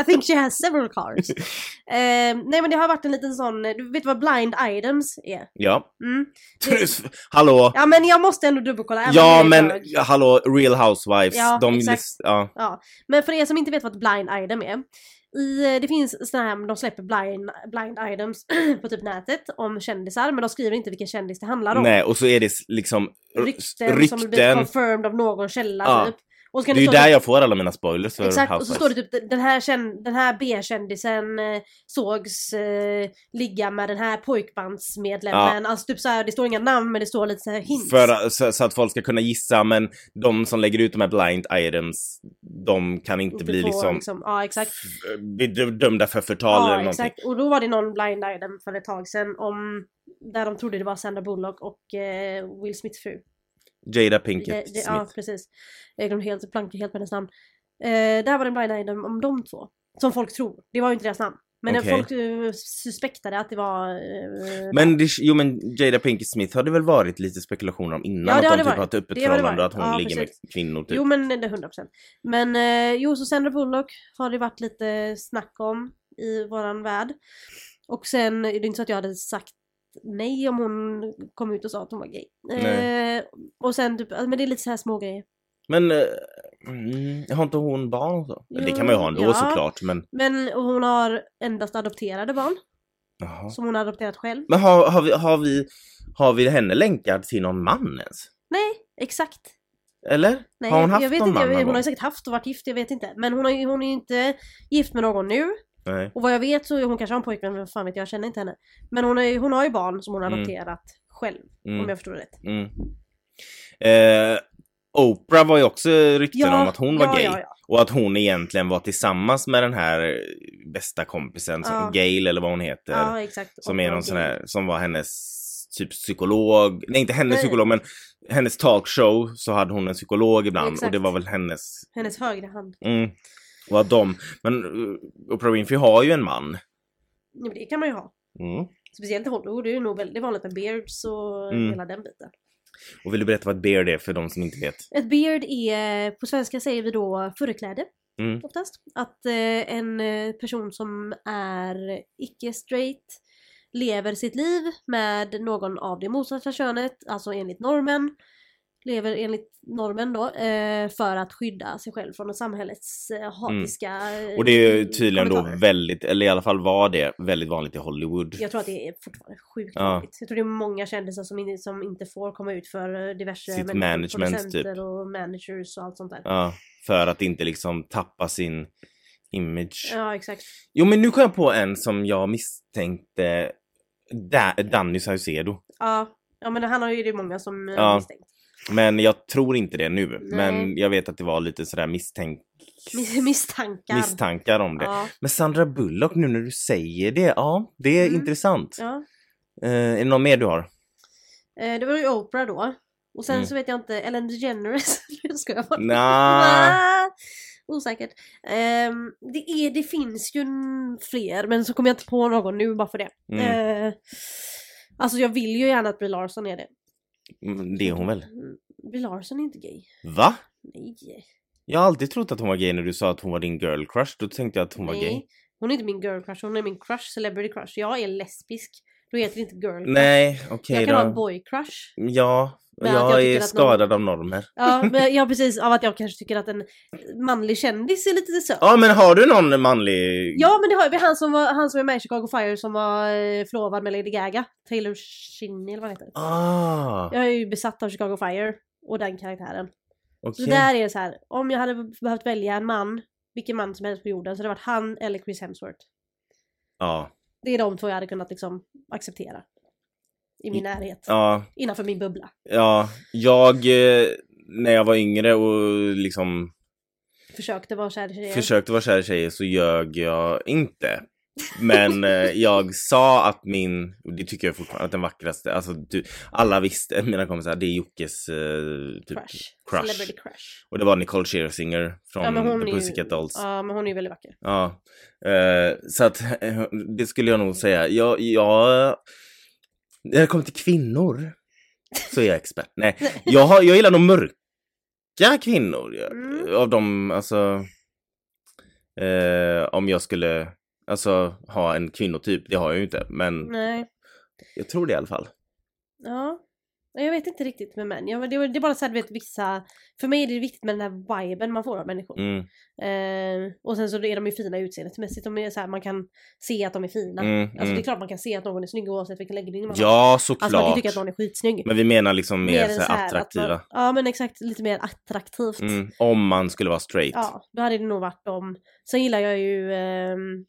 Speaker 1: I think she has several
Speaker 2: [LAUGHS]
Speaker 1: cars. Ehm, nej men det har varit en liten sån, eh, du vet vad blind items är?
Speaker 2: Ja.
Speaker 1: Mm.
Speaker 2: Tror- Hallå?
Speaker 1: Ja men jag måste ändå dubbelkolla. även
Speaker 2: Ja
Speaker 1: om jag är
Speaker 2: men
Speaker 1: hög.
Speaker 2: hallå, real housewives,
Speaker 1: Ja,
Speaker 2: de
Speaker 1: exakt.
Speaker 2: lis- ja.
Speaker 1: Men för er som inte vet vad ett blind item är. I, eh, det finns såna här, de släpper blind, blind items [CLEARS THROAT] på typ nätet om kändisar men de skriver inte vilken kändis det handlar om.
Speaker 2: Nej och så är det s- liksom r-
Speaker 1: Rykten, som blir
Speaker 2: rykten.
Speaker 1: confirmed av någon källa
Speaker 2: Ja.
Speaker 1: typ. Och så
Speaker 2: Det
Speaker 1: kan det,
Speaker 2: är ju
Speaker 1: stå
Speaker 2: där
Speaker 1: typ-
Speaker 2: jag får alla mina spoilers för
Speaker 1: Exakt, och
Speaker 2: housewives.
Speaker 1: så står det typ den här, känn- den här B-kändisen eh, sågs eh, ligga med den här pojkbandsmedlemmen. Alltså typ så här, det står inga namn men det står lite så här hints.
Speaker 2: För, eh, så, så att folk ska kunna gissa men de som lägger ut de här blind items, de kan inte, bli
Speaker 1: få,
Speaker 2: liksom,
Speaker 1: Ja exakt.
Speaker 2: f- bli dö- dömda för förtal
Speaker 1: Ja,
Speaker 2: eller någonting.
Speaker 1: exakt. Och då var det någon blind item för ett tag sedan om där de trodde det var Sandra Bullock och eh, Will Smiths fru.
Speaker 2: Jada Pinkett
Speaker 1: Det- det-
Speaker 2: Smith.
Speaker 1: Ja, precis. Jag glömde helt, plankade helt på hennes namn. Eh, där var det en blind item om de två. Som folk tror. Det var ju inte deras namn. Men
Speaker 2: Okej.
Speaker 1: folk eh, suspektade att det var... Eh,
Speaker 2: Men, det, jo, men Jada Pinkett Smith har det väl varit lite spekulationer om innan?
Speaker 1: Ja, det
Speaker 2: att
Speaker 1: har
Speaker 2: de
Speaker 1: det
Speaker 2: typ
Speaker 1: varit.
Speaker 2: har ett öppet
Speaker 1: Det har det
Speaker 2: förhållande och att
Speaker 1: varit.
Speaker 2: hon
Speaker 1: Ja,
Speaker 2: ligger
Speaker 1: precis.
Speaker 2: med kvinnor typ.
Speaker 1: Jo men det är 100%. Men eh, jo så Sandra Bullock har det varit lite snack om i våran värld. Och sen är det inte så att jag hade sagt nej om hon kom ut och sa att hon var gay. Eh, och sen typ, alltså, men det är lite så här små grejer.
Speaker 2: Men eh, Mm. Har inte hon barn och så? det kan man ju ha ändå
Speaker 1: Ja.
Speaker 2: såklart, men...
Speaker 1: Men hon har endast adopterade barn
Speaker 2: Jaha.
Speaker 1: som hon har adopterat själv.
Speaker 2: Men har, har, vi, har, vi, har vi henne länkad till någon man ens?
Speaker 1: Nej, exakt.
Speaker 2: Eller?
Speaker 1: Nej,
Speaker 2: har hon haft
Speaker 1: jag vet
Speaker 2: någon
Speaker 1: inte,
Speaker 2: man
Speaker 1: jag,
Speaker 2: någon
Speaker 1: hon har
Speaker 2: gång?
Speaker 1: ju säkert haft och varit gift, jag vet inte. Men hon, har, ju- hon är ju inte gift med någon nu.
Speaker 2: Nej.
Speaker 1: Och vad jag vet så, hon kanske har en pojkvän, men fan vet jag, jag känner inte henne. Men hon, är, ju- hon har ju barn som hon har
Speaker 2: Mm.
Speaker 1: adopterat själv, om
Speaker 2: Mm.
Speaker 1: jag förstår det rätt.
Speaker 2: Mm. Eh, Oprah var ju också rykten om att hon var
Speaker 1: ja,
Speaker 2: gay.
Speaker 1: Ja, ja.
Speaker 2: Och att hon egentligen var tillsammans med den här eh, bästa kompisen, som
Speaker 1: Ja.
Speaker 2: Gail eller vad hon heter.
Speaker 1: ja, exakt.
Speaker 2: Som
Speaker 1: Och
Speaker 2: är
Speaker 1: hon
Speaker 2: någon sån
Speaker 1: gay.
Speaker 2: här, som var hennes typ psykolog, nej inte hennes
Speaker 1: Nej.
Speaker 2: psykolog men hennes talkshow så hade hon en psykolog ibland och
Speaker 1: Exakt.
Speaker 2: det var väl hennes,
Speaker 1: Hennes högra hand.
Speaker 2: mm, och att de, men eh, Oprah Winfrey har ju en man.
Speaker 1: Ja, men det kan man ju ha.
Speaker 2: Mm.
Speaker 1: Speciellt i Hollywood, det är ju nog väldigt vanligt med beards och
Speaker 2: Mm.
Speaker 1: hela den biten.
Speaker 2: Och vill du berätta vad ett beard är för de som inte vet?
Speaker 1: Ett beard är, på svenska säger vi då förkläde
Speaker 2: Mm.
Speaker 1: oftast. Att eh, en eh, person som är icke straight lever sitt liv med någon av det motsatta könet, alltså enligt normen. Lever enligt normen då, eh, för att skydda sig själv från samhällets eh, hatiska eh,
Speaker 2: Mm. Och det är ju tydligen då
Speaker 1: kommentarer.
Speaker 2: väldigt, eller i alla fall var det, väldigt vanligt i Hollywood.
Speaker 1: Jag tror att det är fortfarande sjukt
Speaker 2: Ja.
Speaker 1: vanligt. Jag tror det är många kändisar som, inte- som inte får komma ut för eh, diverse
Speaker 2: Sitt
Speaker 1: människor,
Speaker 2: management, typ.
Speaker 1: producenter och managers och allt sånt där. Ja,
Speaker 2: Ja, för att inte liksom tappa sin image.
Speaker 1: exakt.
Speaker 2: Jo men nu kom jag på en som jag misstänkte, da- Danny Saucedo.
Speaker 1: Ja. ja, men han har ju det är många som eh,
Speaker 2: Ja.
Speaker 1: misstänkt.
Speaker 2: Men jag tror inte det nu.
Speaker 1: Nej.
Speaker 2: Men jag vet att det var lite sådär misstänk...
Speaker 1: Mis- [LAUGHS] Misstankar.
Speaker 2: misstankar om det.
Speaker 1: Ja.
Speaker 2: Men Sandra Bullock, nu när du säger det, ja, det är
Speaker 1: Mm.
Speaker 2: intressant.
Speaker 1: ja.
Speaker 2: Eh, är det någon mer
Speaker 1: [LAUGHS]
Speaker 2: du har?
Speaker 1: Eh, det var ju Oprah då. Och sen
Speaker 2: Mm.
Speaker 1: så vet jag inte, Ellen DeGeneres. [LAUGHS] Nu ska jag bara.
Speaker 2: Nja.
Speaker 1: Ah, Osäkert. Ehm, det, är, det finns ju n- fler men så kommer jag inte på någon nu bara för det.
Speaker 2: Mm,
Speaker 1: Eh, alltså jag vill ju gärna att Brie Larson är det.
Speaker 2: mm, det är hon väl?
Speaker 1: Mm, Brie Larson är inte gay.
Speaker 2: Va?
Speaker 1: Nej.
Speaker 2: Jag har alltid trott att hon var gay när du sa att hon var din girl crush. Då tänkte jag att hon
Speaker 1: Nej.
Speaker 2: var gay.
Speaker 1: Hon är inte min girl crush, hon är min crush, celebrity crush. Jag är lesbisk. Då heter det inte girl crush.
Speaker 2: Nej, okej
Speaker 1: jag kan ha en
Speaker 2: då.
Speaker 1: boy crush.
Speaker 2: Ja,
Speaker 1: Men att
Speaker 2: jag,
Speaker 1: jag tycker
Speaker 2: är
Speaker 1: att någon-
Speaker 2: skadad av normer.
Speaker 1: Ja, men, ja precis, av att jag kanske tycker att en manlig kändis är lite söt.
Speaker 2: Ja, men har du någon manlig...
Speaker 1: Ja men det har vi, han som, var, han som är med i Chicago Fire som var eh, förlovad med Lady Gaga. Taylor Shinney eller vad han heter.
Speaker 2: Ah,
Speaker 1: Jag är ju besatt av Chicago Fire och den karaktären. Så
Speaker 2: okej.
Speaker 1: där är det så här, om jag hade behövt välja en man, vilken man som helst på jorden, så hade det varit han eller Chris Hemsworth.
Speaker 2: Ja,
Speaker 1: Det är de två jag hade kunnat liksom acceptera. I min närhet.
Speaker 2: ja,
Speaker 1: Innanför min bubbla.
Speaker 2: Ja, jag eh, när jag var yngre och liksom
Speaker 1: Försökte vara eh, kär i tjejer.
Speaker 2: försökte vara kär i tjejer så ljög jag inte. Men eh, jag sa att min, och det tycker jag fortfarande, att den vackraste, alltså du, alla visste, mina kompisar, det är Jockes eh, typ,
Speaker 1: crush.
Speaker 2: crush.
Speaker 1: Celebrity crush.
Speaker 2: och det var Nicole Scherzinger
Speaker 1: Ja,
Speaker 2: från
Speaker 1: men hon
Speaker 2: The
Speaker 1: är ju-
Speaker 2: Pussycat Dolls.
Speaker 1: Ja men hon är ju väldigt vacker.
Speaker 2: Ja. Eh, så att [LAUGHS] eh, det skulle jag nog säga. Jag, jag, när det kommer till kvinnor så är jag expert. Nej, jag, har, jag gillar nog mörka kvinnor. Jag-
Speaker 1: Mm.
Speaker 2: Av dem, alltså. Eh, om jag skulle alltså, ha en kvinnotyp, det har jag ju inte. Men
Speaker 1: Nej.
Speaker 2: jag tror det i alla fall.
Speaker 1: Ja. Ja, Jag vet inte riktigt med män. Jag, det, var- det är bara så här, du vet vissa... För mig är det viktigt med den här viben man får av människor.
Speaker 2: Mm,
Speaker 1: Eh, och sen så är de ju fina utseendemässigt. De är så här, man kan se att de är fina.
Speaker 2: mm,
Speaker 1: Alltså det är
Speaker 2: mm.
Speaker 1: klart man kan se att någon är snygg oavsett vilken läggning man har.
Speaker 2: Ja, såklart.
Speaker 1: Alltså man kan tycka att någon är skitsnygg.
Speaker 2: Men vi menar liksom mer,
Speaker 1: än
Speaker 2: så här
Speaker 1: att
Speaker 2: attraktiva.
Speaker 1: Man, ja men exakt, lite mer attraktivt.
Speaker 2: Mm, om man skulle vara straight.
Speaker 1: Ja, då hade det nog varit om... Sen gillar jag ju ehm,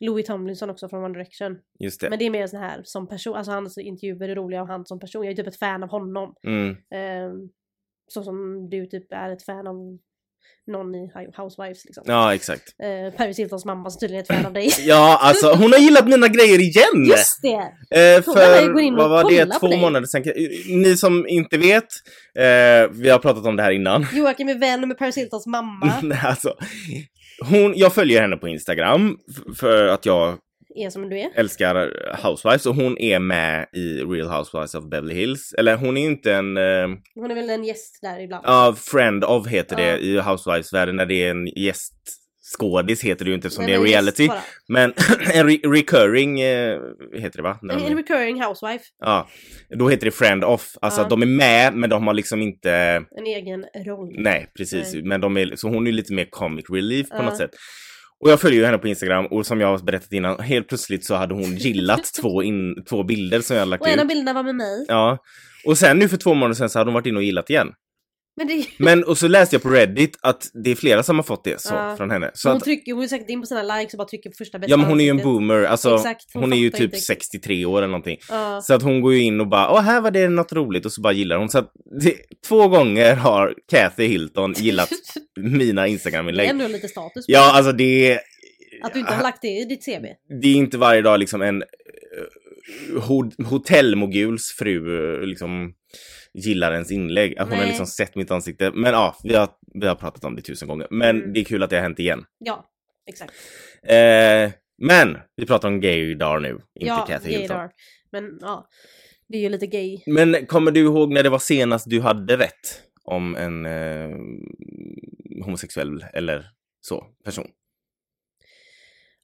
Speaker 1: Louis Tomlinson också från One Direction.
Speaker 2: Just det.
Speaker 1: Men det är mer sån här som person, alltså hans intervjuer är roliga och han som person. Jag är typ ett fan av honom.
Speaker 2: Mm,
Speaker 1: Ehm, så som du typ är ett fan av någon i Hi- Housewives liksom.
Speaker 2: ja, exakt.
Speaker 1: Eh, Paris Hiltons mamma som tydligen är ett fan av
Speaker 2: [LAUGHS]
Speaker 1: dig.
Speaker 2: Ja, alltså hon har gillat mina grejer igen!
Speaker 1: Just det!
Speaker 2: Eh,
Speaker 1: Kolla, gå in
Speaker 2: för
Speaker 1: och
Speaker 2: vad var det,
Speaker 1: kolla på
Speaker 2: två
Speaker 1: dig.
Speaker 2: månader sedan? Ni som inte vet, eh, vi har pratat om det här innan.
Speaker 1: Joakim är vän med Paris Hiltons
Speaker 2: [LAUGHS]
Speaker 1: mamma.
Speaker 2: Nej, alltså, hon, jag följer henne på Instagram f- för att jag
Speaker 1: är som du är.
Speaker 2: älskar Housewives och hon är med i Real Housewives of Beverly Hills. Eller hon är inte en eh,
Speaker 1: Hon är väl en gäst där ibland.
Speaker 2: ja, friend of heter det
Speaker 1: Ja.
Speaker 2: i Housewives-världen när det är en gäst skådis heter det ju inte eftersom
Speaker 1: Nej,
Speaker 2: det är
Speaker 1: men just
Speaker 2: reality.
Speaker 1: bara.
Speaker 2: Men [CLEARS THROAT] en re- recurring eh, heter det va? När
Speaker 1: En,
Speaker 2: de-
Speaker 1: en recurring housewife.
Speaker 2: Ja, då heter det friend off. Alltså
Speaker 1: Ja.
Speaker 2: att de är med men de har liksom inte,
Speaker 1: En egen roll.
Speaker 2: nej precis,
Speaker 1: Nej.
Speaker 2: men de är, så hon är lite mer comic relief på
Speaker 1: Ja.
Speaker 2: något sätt. Och jag följer ju henne på Instagram och som jag har berättat innan, helt plötsligt så hade
Speaker 1: [LAUGHS]
Speaker 2: hon gillat två, in, två bilder som jag hade lagt
Speaker 1: Och en av
Speaker 2: ut.
Speaker 1: bilderna var med mig.
Speaker 2: Ja. Och sen nu för två månader sedan så hade hon varit inne och gillat igen.
Speaker 1: Men det,
Speaker 2: Men och så läste jag på Reddit att det är flera som har fått det så,
Speaker 1: Ja.
Speaker 2: från henne. Så
Speaker 1: hon,
Speaker 2: att,
Speaker 1: trycker, hon är säkert in på sina likes och bara trycker på första bästa.
Speaker 2: ja men hon är ju en
Speaker 1: ansiktet.
Speaker 2: boomer, alltså
Speaker 1: Exakt,
Speaker 2: hon, är ju
Speaker 1: fattar
Speaker 2: typ
Speaker 1: inte.
Speaker 2: 63 år eller någonting.
Speaker 1: Ja.
Speaker 2: Så att hon går ju in och bara, åh här var det något roligt och så bara gillar hon. Så att det, två gånger har Kathy Hilton gillat
Speaker 1: [LAUGHS] Det
Speaker 2: mina
Speaker 1: är
Speaker 2: Instagram-inlägg.
Speaker 1: ändå lite status på
Speaker 2: Ja, alltså det är,
Speaker 1: Att du inte har lagt det i ditt CV.
Speaker 2: det är inte varje dag liksom en eh, ho- hotellmoguls fru eh, liksom gillar ens inlägg. Att hon har
Speaker 1: Nej.
Speaker 2: liksom sett mitt ansikte. Men ja, vi har, vi har pratat om det tusen gånger. Men
Speaker 1: Mm.
Speaker 2: det är kul att det har hänt igen.
Speaker 1: Ja, exakt.
Speaker 2: Eh, men vi pratar om gaydar nu, inte
Speaker 1: ja,
Speaker 2: Kathy
Speaker 1: gay
Speaker 2: Hilton.
Speaker 1: dar. Men ja, det är ju lite gay.
Speaker 2: Men kommer du ihåg när det var senast du hade rätt om en eh, homosexuell eller så person?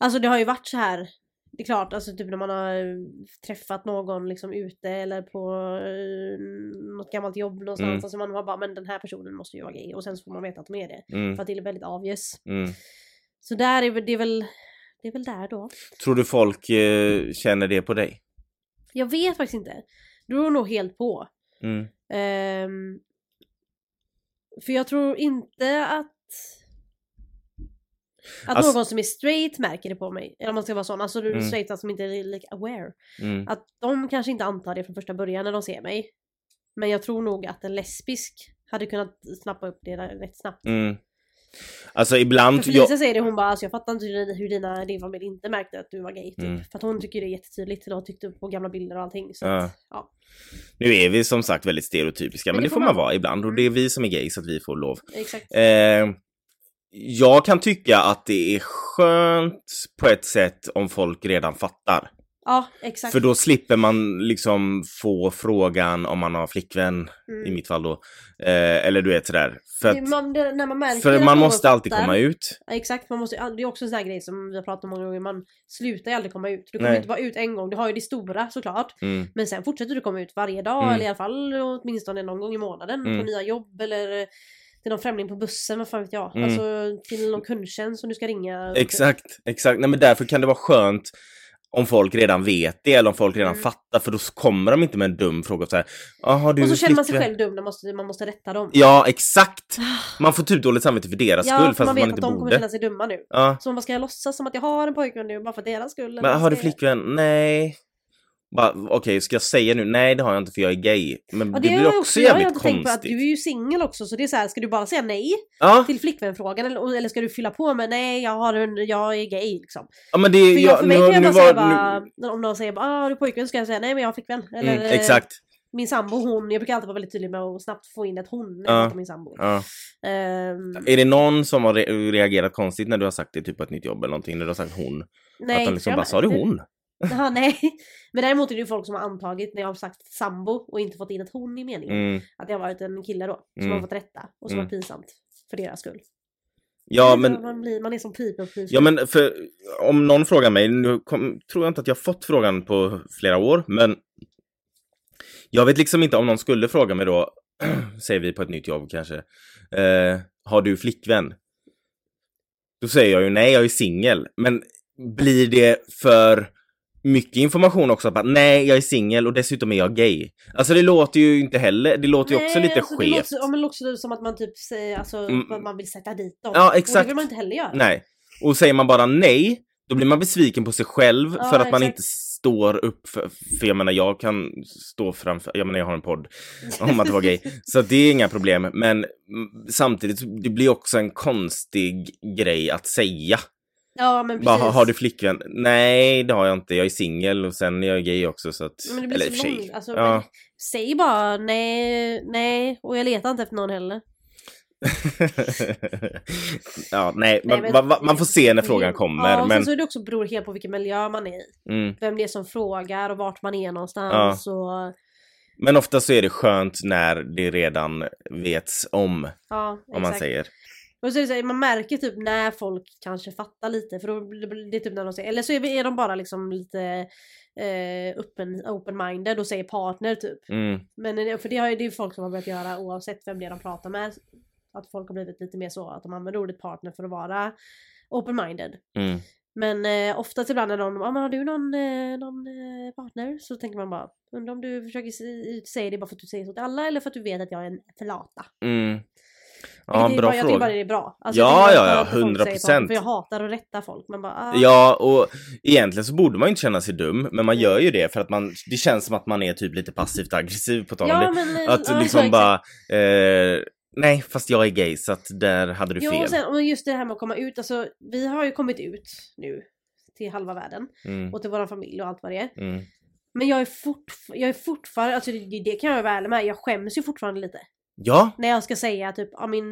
Speaker 1: Alltså det har ju varit så här. Det är klart, alltså typ när man har eh, träffat någon liksom ute eller på eh, något gammalt jobb någonstans.
Speaker 2: Mm.
Speaker 1: Alltså man har bara, men den här personen måste ju vara gay. Och sen så får man veta att de är det.
Speaker 2: Mm,
Speaker 1: För att det är väldigt obvious.
Speaker 2: mm.
Speaker 1: Så där är väl, det är väl, det är väl där då.
Speaker 2: Tror du folk eh, känner det på dig?
Speaker 1: Jag vet faktiskt inte. Det beror nog helt på.
Speaker 2: Mm.
Speaker 1: Ehm, för jag tror inte att att
Speaker 2: Alltså-
Speaker 1: någon som är straight märker det på mig. Eller om man ska vara sån, alltså du
Speaker 2: Mm.
Speaker 1: straighta som inte är lika aware.
Speaker 2: Mm.
Speaker 1: Att de kanske inte antar det från första början när de ser mig. Men jag tror nog att en lesbisk hade kunnat snappa upp det där rätt snabbt.
Speaker 2: Mm. Alltså
Speaker 1: För
Speaker 2: ibland...
Speaker 1: Felicia
Speaker 2: Jag,
Speaker 1: säger det, hon bara alltså jag fattar inte hur dina- hur dina, din familj inte märkte att du var gay. Typ.
Speaker 2: Mm.
Speaker 1: För att hon tycker det är jättetydligt, eller hon tyckte på gamla bilder och allting. Så
Speaker 2: Ja.
Speaker 1: att, ja.
Speaker 2: nu är vi som sagt väldigt stereotypiska, men, det, får man Mm. vara ibland och det är vi som är gay så att vi får lov.
Speaker 1: Exakt.
Speaker 2: Eh, jag kan tycka att det är skönt på ett sätt om folk redan fattar.
Speaker 1: Ja, exakt.
Speaker 2: För då slipper man liksom få frågan om man har flickvän,
Speaker 1: Mm.
Speaker 2: i mitt fall då. Eh, eller du vet sådär. För,
Speaker 1: Det-
Speaker 2: att,
Speaker 1: man, det, när man märker
Speaker 2: för
Speaker 1: att
Speaker 2: man
Speaker 1: någon
Speaker 2: måste alltid
Speaker 1: fattar-
Speaker 2: komma ut.
Speaker 1: Ja, exakt, man måste, det är också en sån här grej som vi har pratat om många gånger, man slutar ju aldrig komma ut. Du kommer
Speaker 2: Nej.
Speaker 1: inte bara ut en gång, du har ju det stora såklart.
Speaker 2: Mm,
Speaker 1: Men sen fortsätter du komma ut varje dag
Speaker 2: Mm.
Speaker 1: eller i alla fall åtminstone någon gång i månaden
Speaker 2: Mm.
Speaker 1: på nya jobb eller eh, till någon främling på bussen, vad fan vet jag.
Speaker 2: Mm.
Speaker 1: Alltså till någon kundtjänst som du ska ringa.
Speaker 2: exakt, exakt. Nej men därför kan det vara skönt om folk redan vet det eller om folk redan
Speaker 1: Mm.
Speaker 2: fattar för då kommer de inte med en dum fråga såhär, jaha du
Speaker 1: Och så
Speaker 2: är
Speaker 1: känner man sig
Speaker 2: flickvän."
Speaker 1: själv dum när man måste, man måste rätta dem. Ah,
Speaker 2: Ja, exakt! Man får typ dåligt samvete för deras
Speaker 1: Ja,
Speaker 2: skull
Speaker 1: för
Speaker 2: fast
Speaker 1: man
Speaker 2: man,
Speaker 1: vet att
Speaker 2: inte
Speaker 1: de kommer
Speaker 2: borde.
Speaker 1: känna sig dumma nu.
Speaker 2: Ja.
Speaker 1: Så man bara, ska jag låtsas som att jag har en pojkvän nu bara för deras skull?
Speaker 2: Men har du
Speaker 1: flickvän?
Speaker 2: flickvän? Nej. Bara, Okej, ska jag säga nu? Nej, det har jag inte för jag är gay. Men
Speaker 1: Ja,
Speaker 2: det,
Speaker 1: har
Speaker 2: blir
Speaker 1: jag
Speaker 2: också,
Speaker 1: jag har
Speaker 2: jävligt
Speaker 1: inte tänkt
Speaker 2: konstigt.
Speaker 1: på att du är ju singel också så det är så här, ska du bara säga nej
Speaker 2: ja.
Speaker 1: till flickvänfrågan eller, eller ska du fylla på med nej jag, har en, jag är gay liksom.
Speaker 2: ja, men det är...
Speaker 1: För jag, för mig kan jag bara säga
Speaker 2: nu-
Speaker 1: bara, om någon säger bara, ah, du är pojkvän ska jag säga nej men jag har flickvän. Eller eh,
Speaker 2: Mm, exakt.
Speaker 1: min sambo hon, jag brukar alltid vara väldigt tydlig med att snabbt få in ett hon när
Speaker 2: Ja.
Speaker 1: jag pratar om min sambo.
Speaker 2: Ja.
Speaker 1: Ehm,
Speaker 2: Är det någon som har re- reagerat konstigt när du har sagt det typ på ett nytt jobb eller någonting? När du har sagt hon?
Speaker 1: nej,
Speaker 2: att de
Speaker 1: inte
Speaker 2: liksom
Speaker 1: jag
Speaker 2: bara, sa
Speaker 1: [LAUGHS]
Speaker 2: du
Speaker 1: märker.
Speaker 2: hon?
Speaker 1: Jaha, nej. Men däremot är det ju folk som har antagit när jag har sagt sambo och inte fått in ett hon i meningen.
Speaker 2: Mm.
Speaker 1: Att det har varit en kille då som
Speaker 2: Mm.
Speaker 1: har fått rätta och som
Speaker 2: Mm.
Speaker 1: var pinsamt för deras skull.
Speaker 2: Ja,
Speaker 1: Nej,
Speaker 2: men...
Speaker 1: Man, blir, man är som typ people pleaser.
Speaker 2: Ja men för om någon frågar mig, nu kom, tror jag inte att jag fått frågan på flera år, men jag vet liksom inte om någon skulle fråga mig då, [CLEARS THROAT] säger vi på ett nytt jobb kanske, eh, har du flickvän? Då säger jag ju nej, jag är singel, men blir det för mycket information också, bara nej, jag är singel och dessutom är jag gay. Alltså det låter ju inte heller, det låter ju också
Speaker 1: Nej,
Speaker 2: lite
Speaker 1: alltså, Det
Speaker 2: skevt.
Speaker 1: låter, ja, men det låter som att man typ säger, alltså,
Speaker 2: Mm.
Speaker 1: att man vill sätta dit dem.
Speaker 2: Ja,
Speaker 1: Och
Speaker 2: exakt.
Speaker 1: det vill man inte heller göra.
Speaker 2: Nej. Och säger man bara nej, då blir man besviken på sig själv
Speaker 1: Ja,
Speaker 2: för att man
Speaker 1: exakt.
Speaker 2: inte står upp för, för jag menar jag kan stå framför, jag menar jag har en podd [LAUGHS] om att vara gay. Så att det är inga problem, men mm, samtidigt så- det blir också en konstig grej att säga.
Speaker 1: [LAUGHS] Ja, men precis.
Speaker 2: Bara, "Ha- har du flickvän? Nej, det har jag inte. Jag är singel och sen är jag gay också så att,
Speaker 1: men det blir
Speaker 2: eller i och för
Speaker 1: så långt.
Speaker 2: sig.
Speaker 1: Alltså,
Speaker 2: Ja.
Speaker 1: men, säg bara nej, nej, och jag letar inte efter någon heller.
Speaker 2: [LAUGHS] ja, nej,
Speaker 1: Nej,
Speaker 2: man,
Speaker 1: men-
Speaker 2: man, man får se när frågan kommer,
Speaker 1: Ja, och
Speaker 2: men
Speaker 1: sen så är det också beror helt på vilken miljö man är i.
Speaker 2: mm.
Speaker 1: Vem det är som frågar och vart man är någonstans. Och,
Speaker 2: Men ofta så är det skönt när det redan vets om, om
Speaker 1: ja,
Speaker 2: man
Speaker 1: exakt.
Speaker 2: säger.
Speaker 1: Och så är det så här, man märker typ när folk kanske fattar lite för då blir det typ när de säger, eller så är är de bara liksom lite eh, open- open-minded och säger partner typ.
Speaker 2: Mm.
Speaker 1: Men det- för det har ju det är ju folk som har börjat göra oavsett vem det är de pratar med. Att folk har blivit lite mer så att de använder ordet partner för att vara open-minded.
Speaker 2: Mm.
Speaker 1: Men eh, oftast ibland när någon, ah, men har du någon, eh, någon eh, partner? Så tänker man bara, undrar om du försöker se- säga det bara för att du säger så till alla eller för att du vet att jag är en flata.
Speaker 2: Mm.
Speaker 1: Vilket
Speaker 2: Ja,
Speaker 1: är
Speaker 2: bra
Speaker 1: bara, Jag tycker
Speaker 2: fråga.
Speaker 1: bara det är bra.
Speaker 2: Ja,
Speaker 1: jag tycker det är
Speaker 2: ja,
Speaker 1: bra
Speaker 2: ja,
Speaker 1: att folk säger
Speaker 2: 100%.
Speaker 1: partner, För jag hatar att rätta folk. Man bara, ah,
Speaker 2: Ja, och egentligen så borde man ju inte känna sig dum, men man gör ju det för att man, det känns som att man är typ lite passivt aggressiv på tal om
Speaker 1: ja,
Speaker 2: det.
Speaker 1: men, eh, ja,
Speaker 2: Att liksom
Speaker 1: exakt.
Speaker 2: bara, eh, nej fast jag är gay så att där hade du
Speaker 1: Jo,
Speaker 2: fel.
Speaker 1: och sen och just det här med att komma ut. Alltså, vi har ju kommit ut nu till halva världen
Speaker 2: Mm,
Speaker 1: och till våran familj och allt vad det är.
Speaker 2: mm,
Speaker 1: Men jag är, fortf- jag är fortfarande, alltså det, det kan jag vara ärlig med, jag skäms ju fortfarande lite.
Speaker 2: ja,
Speaker 1: När jag ska säga typ, ja min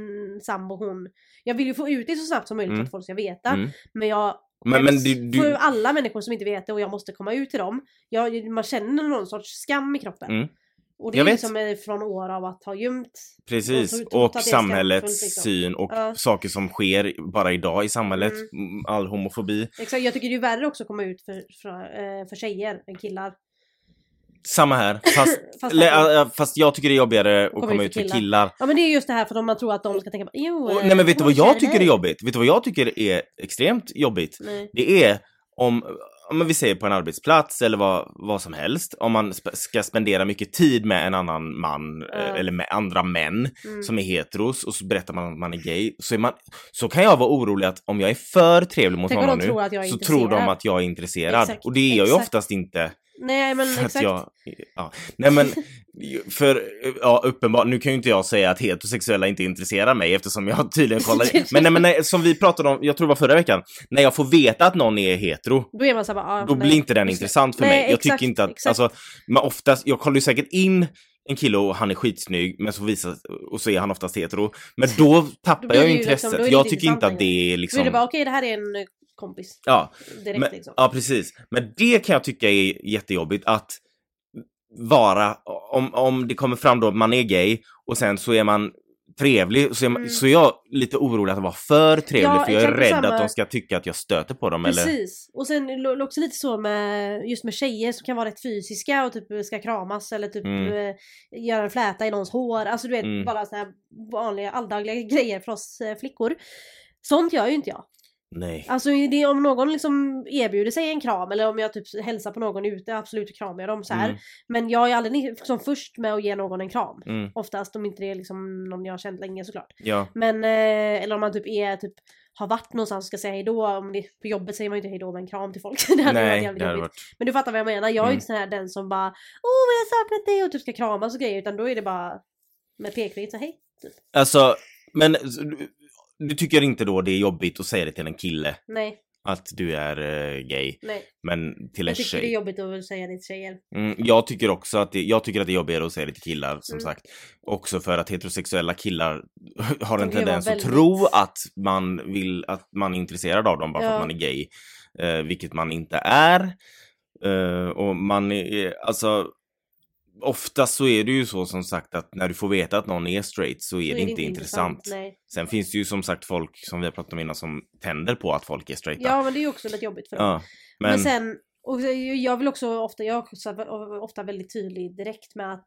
Speaker 1: sambo hon. Jag vill ju få ut det så snabbt som möjligt för
Speaker 2: Mm.
Speaker 1: att folk ska veta.
Speaker 2: Mm.
Speaker 1: Men jag
Speaker 2: men, men
Speaker 1: skäms
Speaker 2: du,
Speaker 1: för
Speaker 2: du,
Speaker 1: alla människor som inte vet det och jag måste komma ut till dem. Jag, man känner någon sorts skam i kroppen.
Speaker 2: Mm.
Speaker 1: Och det
Speaker 2: Jag
Speaker 1: är
Speaker 2: vet.
Speaker 1: liksom eh, från år av att ha gömt.
Speaker 2: precis,
Speaker 1: jag tror- tror att
Speaker 2: och
Speaker 1: det är
Speaker 2: samhällets
Speaker 1: skamfullt, liksom.
Speaker 2: syn och
Speaker 1: Ja.
Speaker 2: saker som sker bara idag i samhället, mm. all homofobi.
Speaker 1: Exakt, jag tycker det är värre också att komma ut för, för, eh, för tjejer än killar. [LAUGHS]
Speaker 2: Samma här, fast,
Speaker 1: Fast
Speaker 2: le,
Speaker 1: att-
Speaker 2: äh, fast jag tycker det är jobbigare att
Speaker 1: Komma
Speaker 2: komma ut för killar.
Speaker 1: Ja men det är just det här för att man tror att de ska tänka på, jo.
Speaker 2: Och,
Speaker 1: eh,
Speaker 2: nej men vet du vad
Speaker 1: hon
Speaker 2: jag
Speaker 1: tjejer
Speaker 2: tycker är
Speaker 1: där."
Speaker 2: jobbigt? Vet du vad jag tycker är extremt jobbigt?
Speaker 1: Nej.
Speaker 2: Det är om, om men vi säger på en arbetsplats eller vad, vad som helst, om man sp- ska spendera mycket tid med en annan man eh,
Speaker 1: Ja.
Speaker 2: eller med andra män
Speaker 1: Mm.
Speaker 2: som är heteros och så berättar man att man är gay, så, är man, så kan jag vara orolig att om jag är för trevlig mot
Speaker 1: Tänk om
Speaker 2: någon
Speaker 1: de
Speaker 2: nu
Speaker 1: tror att jag är
Speaker 2: så tror de
Speaker 1: intresserad.
Speaker 2: att jag är intresserad
Speaker 1: Exakt,
Speaker 2: och det är jag ju
Speaker 1: exakt.
Speaker 2: oftast inte.
Speaker 1: Nej men
Speaker 2: För att
Speaker 1: exakt.
Speaker 2: jag, ja. Nej men, för ja, uppenbart, nu kan ju inte jag säga att heterosexuella inte intresserar mig eftersom jag
Speaker 1: [LAUGHS]
Speaker 2: tydligen kollar Men nej men nej, som vi pratade om, jag tror det var förra veckan, när jag får veta att någon är hetero,
Speaker 1: Då är man såhär bara, ah,
Speaker 2: då
Speaker 1: nej.
Speaker 2: blir inte den
Speaker 1: Just det.
Speaker 2: intressant för
Speaker 1: Nej,
Speaker 2: mig. Jag
Speaker 1: exakt,
Speaker 2: tycker inte att,
Speaker 1: exakt.
Speaker 2: alltså, men oftast, jag kollar ju säkert in en kille och han är skitsnygg men så visar, och så är han oftast hetero.
Speaker 1: [LAUGHS]
Speaker 2: Men då
Speaker 1: Då
Speaker 2: tappar
Speaker 1: blir
Speaker 2: jag
Speaker 1: det
Speaker 2: ju
Speaker 1: ju liksom-
Speaker 2: intresset.
Speaker 1: då är det
Speaker 2: jag
Speaker 1: inte
Speaker 2: tycker
Speaker 1: intressant
Speaker 2: inte att det är
Speaker 1: Då är det
Speaker 2: liksom,
Speaker 1: bara, okej det här är en eh, kompis.
Speaker 2: ja.
Speaker 1: Direkt
Speaker 2: Men-
Speaker 1: liksom.
Speaker 2: Ja, precis. Men det kan jag tycka är jättejobbigt att vara, om, om det kommer fram då att man är gay och sen så är man trevlig, så är, man,
Speaker 1: Mm.
Speaker 2: så är jag lite orolig att vara för trevlig
Speaker 1: Ja,
Speaker 2: för jag är
Speaker 1: exakt
Speaker 2: rädd
Speaker 1: samma.
Speaker 2: att de ska tycka att jag stöter på dem eller...
Speaker 1: Precis. Och sen är det också lite så med just med tjejer som kan vara rätt fysiska och typ ska kramas eller typ
Speaker 2: Mm.
Speaker 1: eh, göra en fläta i någons hår. Alltså du vet
Speaker 2: Mm.
Speaker 1: bara så här vanliga alldagliga [LAUGHS] grejer för oss eh, flickor. Sånt gör ju inte jag.
Speaker 2: Nej.
Speaker 1: Alltså det, om någon liksom erbjuder sig en kram eller om jag typ hälsar på någon ute, absolut kramar jag dem så här.
Speaker 2: Mm,
Speaker 1: Men jag är aldrig liksom först med att ge någon en kram.
Speaker 2: mm,
Speaker 1: Oftast om inte det är liksom någon jag har känt länge såklart.
Speaker 2: ja.
Speaker 1: Men, eh, eller om man typ är typ har varit någonstans och ska säga hejdå, om det, på jobbet säger man ju inte hejdå med en kram till folk. [LAUGHS] [LAUGHS] Det hade varit
Speaker 2: Nej,
Speaker 1: jävligt
Speaker 2: det hade
Speaker 1: jobbigt.
Speaker 2: varit...
Speaker 1: Men du fattar vad jag menar, jag är ju
Speaker 2: Mm.
Speaker 1: inte sån här den som bara Åh vad jag har saknat dig och typ ska kramas och grejer utan då är det bara med pekfingret så hej.
Speaker 2: Alltså, men så du, du tycker inte då det är jobbigt att säga det till en kille
Speaker 1: Nej,
Speaker 2: att du är eh, gay,
Speaker 1: nej.
Speaker 2: men till en
Speaker 1: Jag tycker det är
Speaker 2: tjej?
Speaker 1: jobbigt att säga det till tjejer.
Speaker 2: Mm, jag tycker också att det, jag tycker att det är jobbigare att säga det till killar som
Speaker 1: Mm.
Speaker 2: sagt. Också för att heterosexuella killar [LAUGHS]
Speaker 1: kan ju
Speaker 2: har en
Speaker 1: vara
Speaker 2: tendens
Speaker 1: väldigt-
Speaker 2: att tro att man vill att man är intresserad av dem bara för
Speaker 1: Ja.
Speaker 2: att man är gay. Eh, vilket man inte är. Eh, och man är, alltså Oftast så är det ju så som sagt att när du får veta att någon är straight så är,
Speaker 1: Då
Speaker 2: det, inte intressant.
Speaker 1: Nej.
Speaker 2: Sen finns det ju som sagt folk som vi har pratat om innan som tänder på att folk är straighta.
Speaker 1: Ja men det är ju också lite jobbigt för dem.
Speaker 2: Ja,
Speaker 1: Men, sen, och jag vill också ofta, jag är också ofta väldigt tydlig direkt med att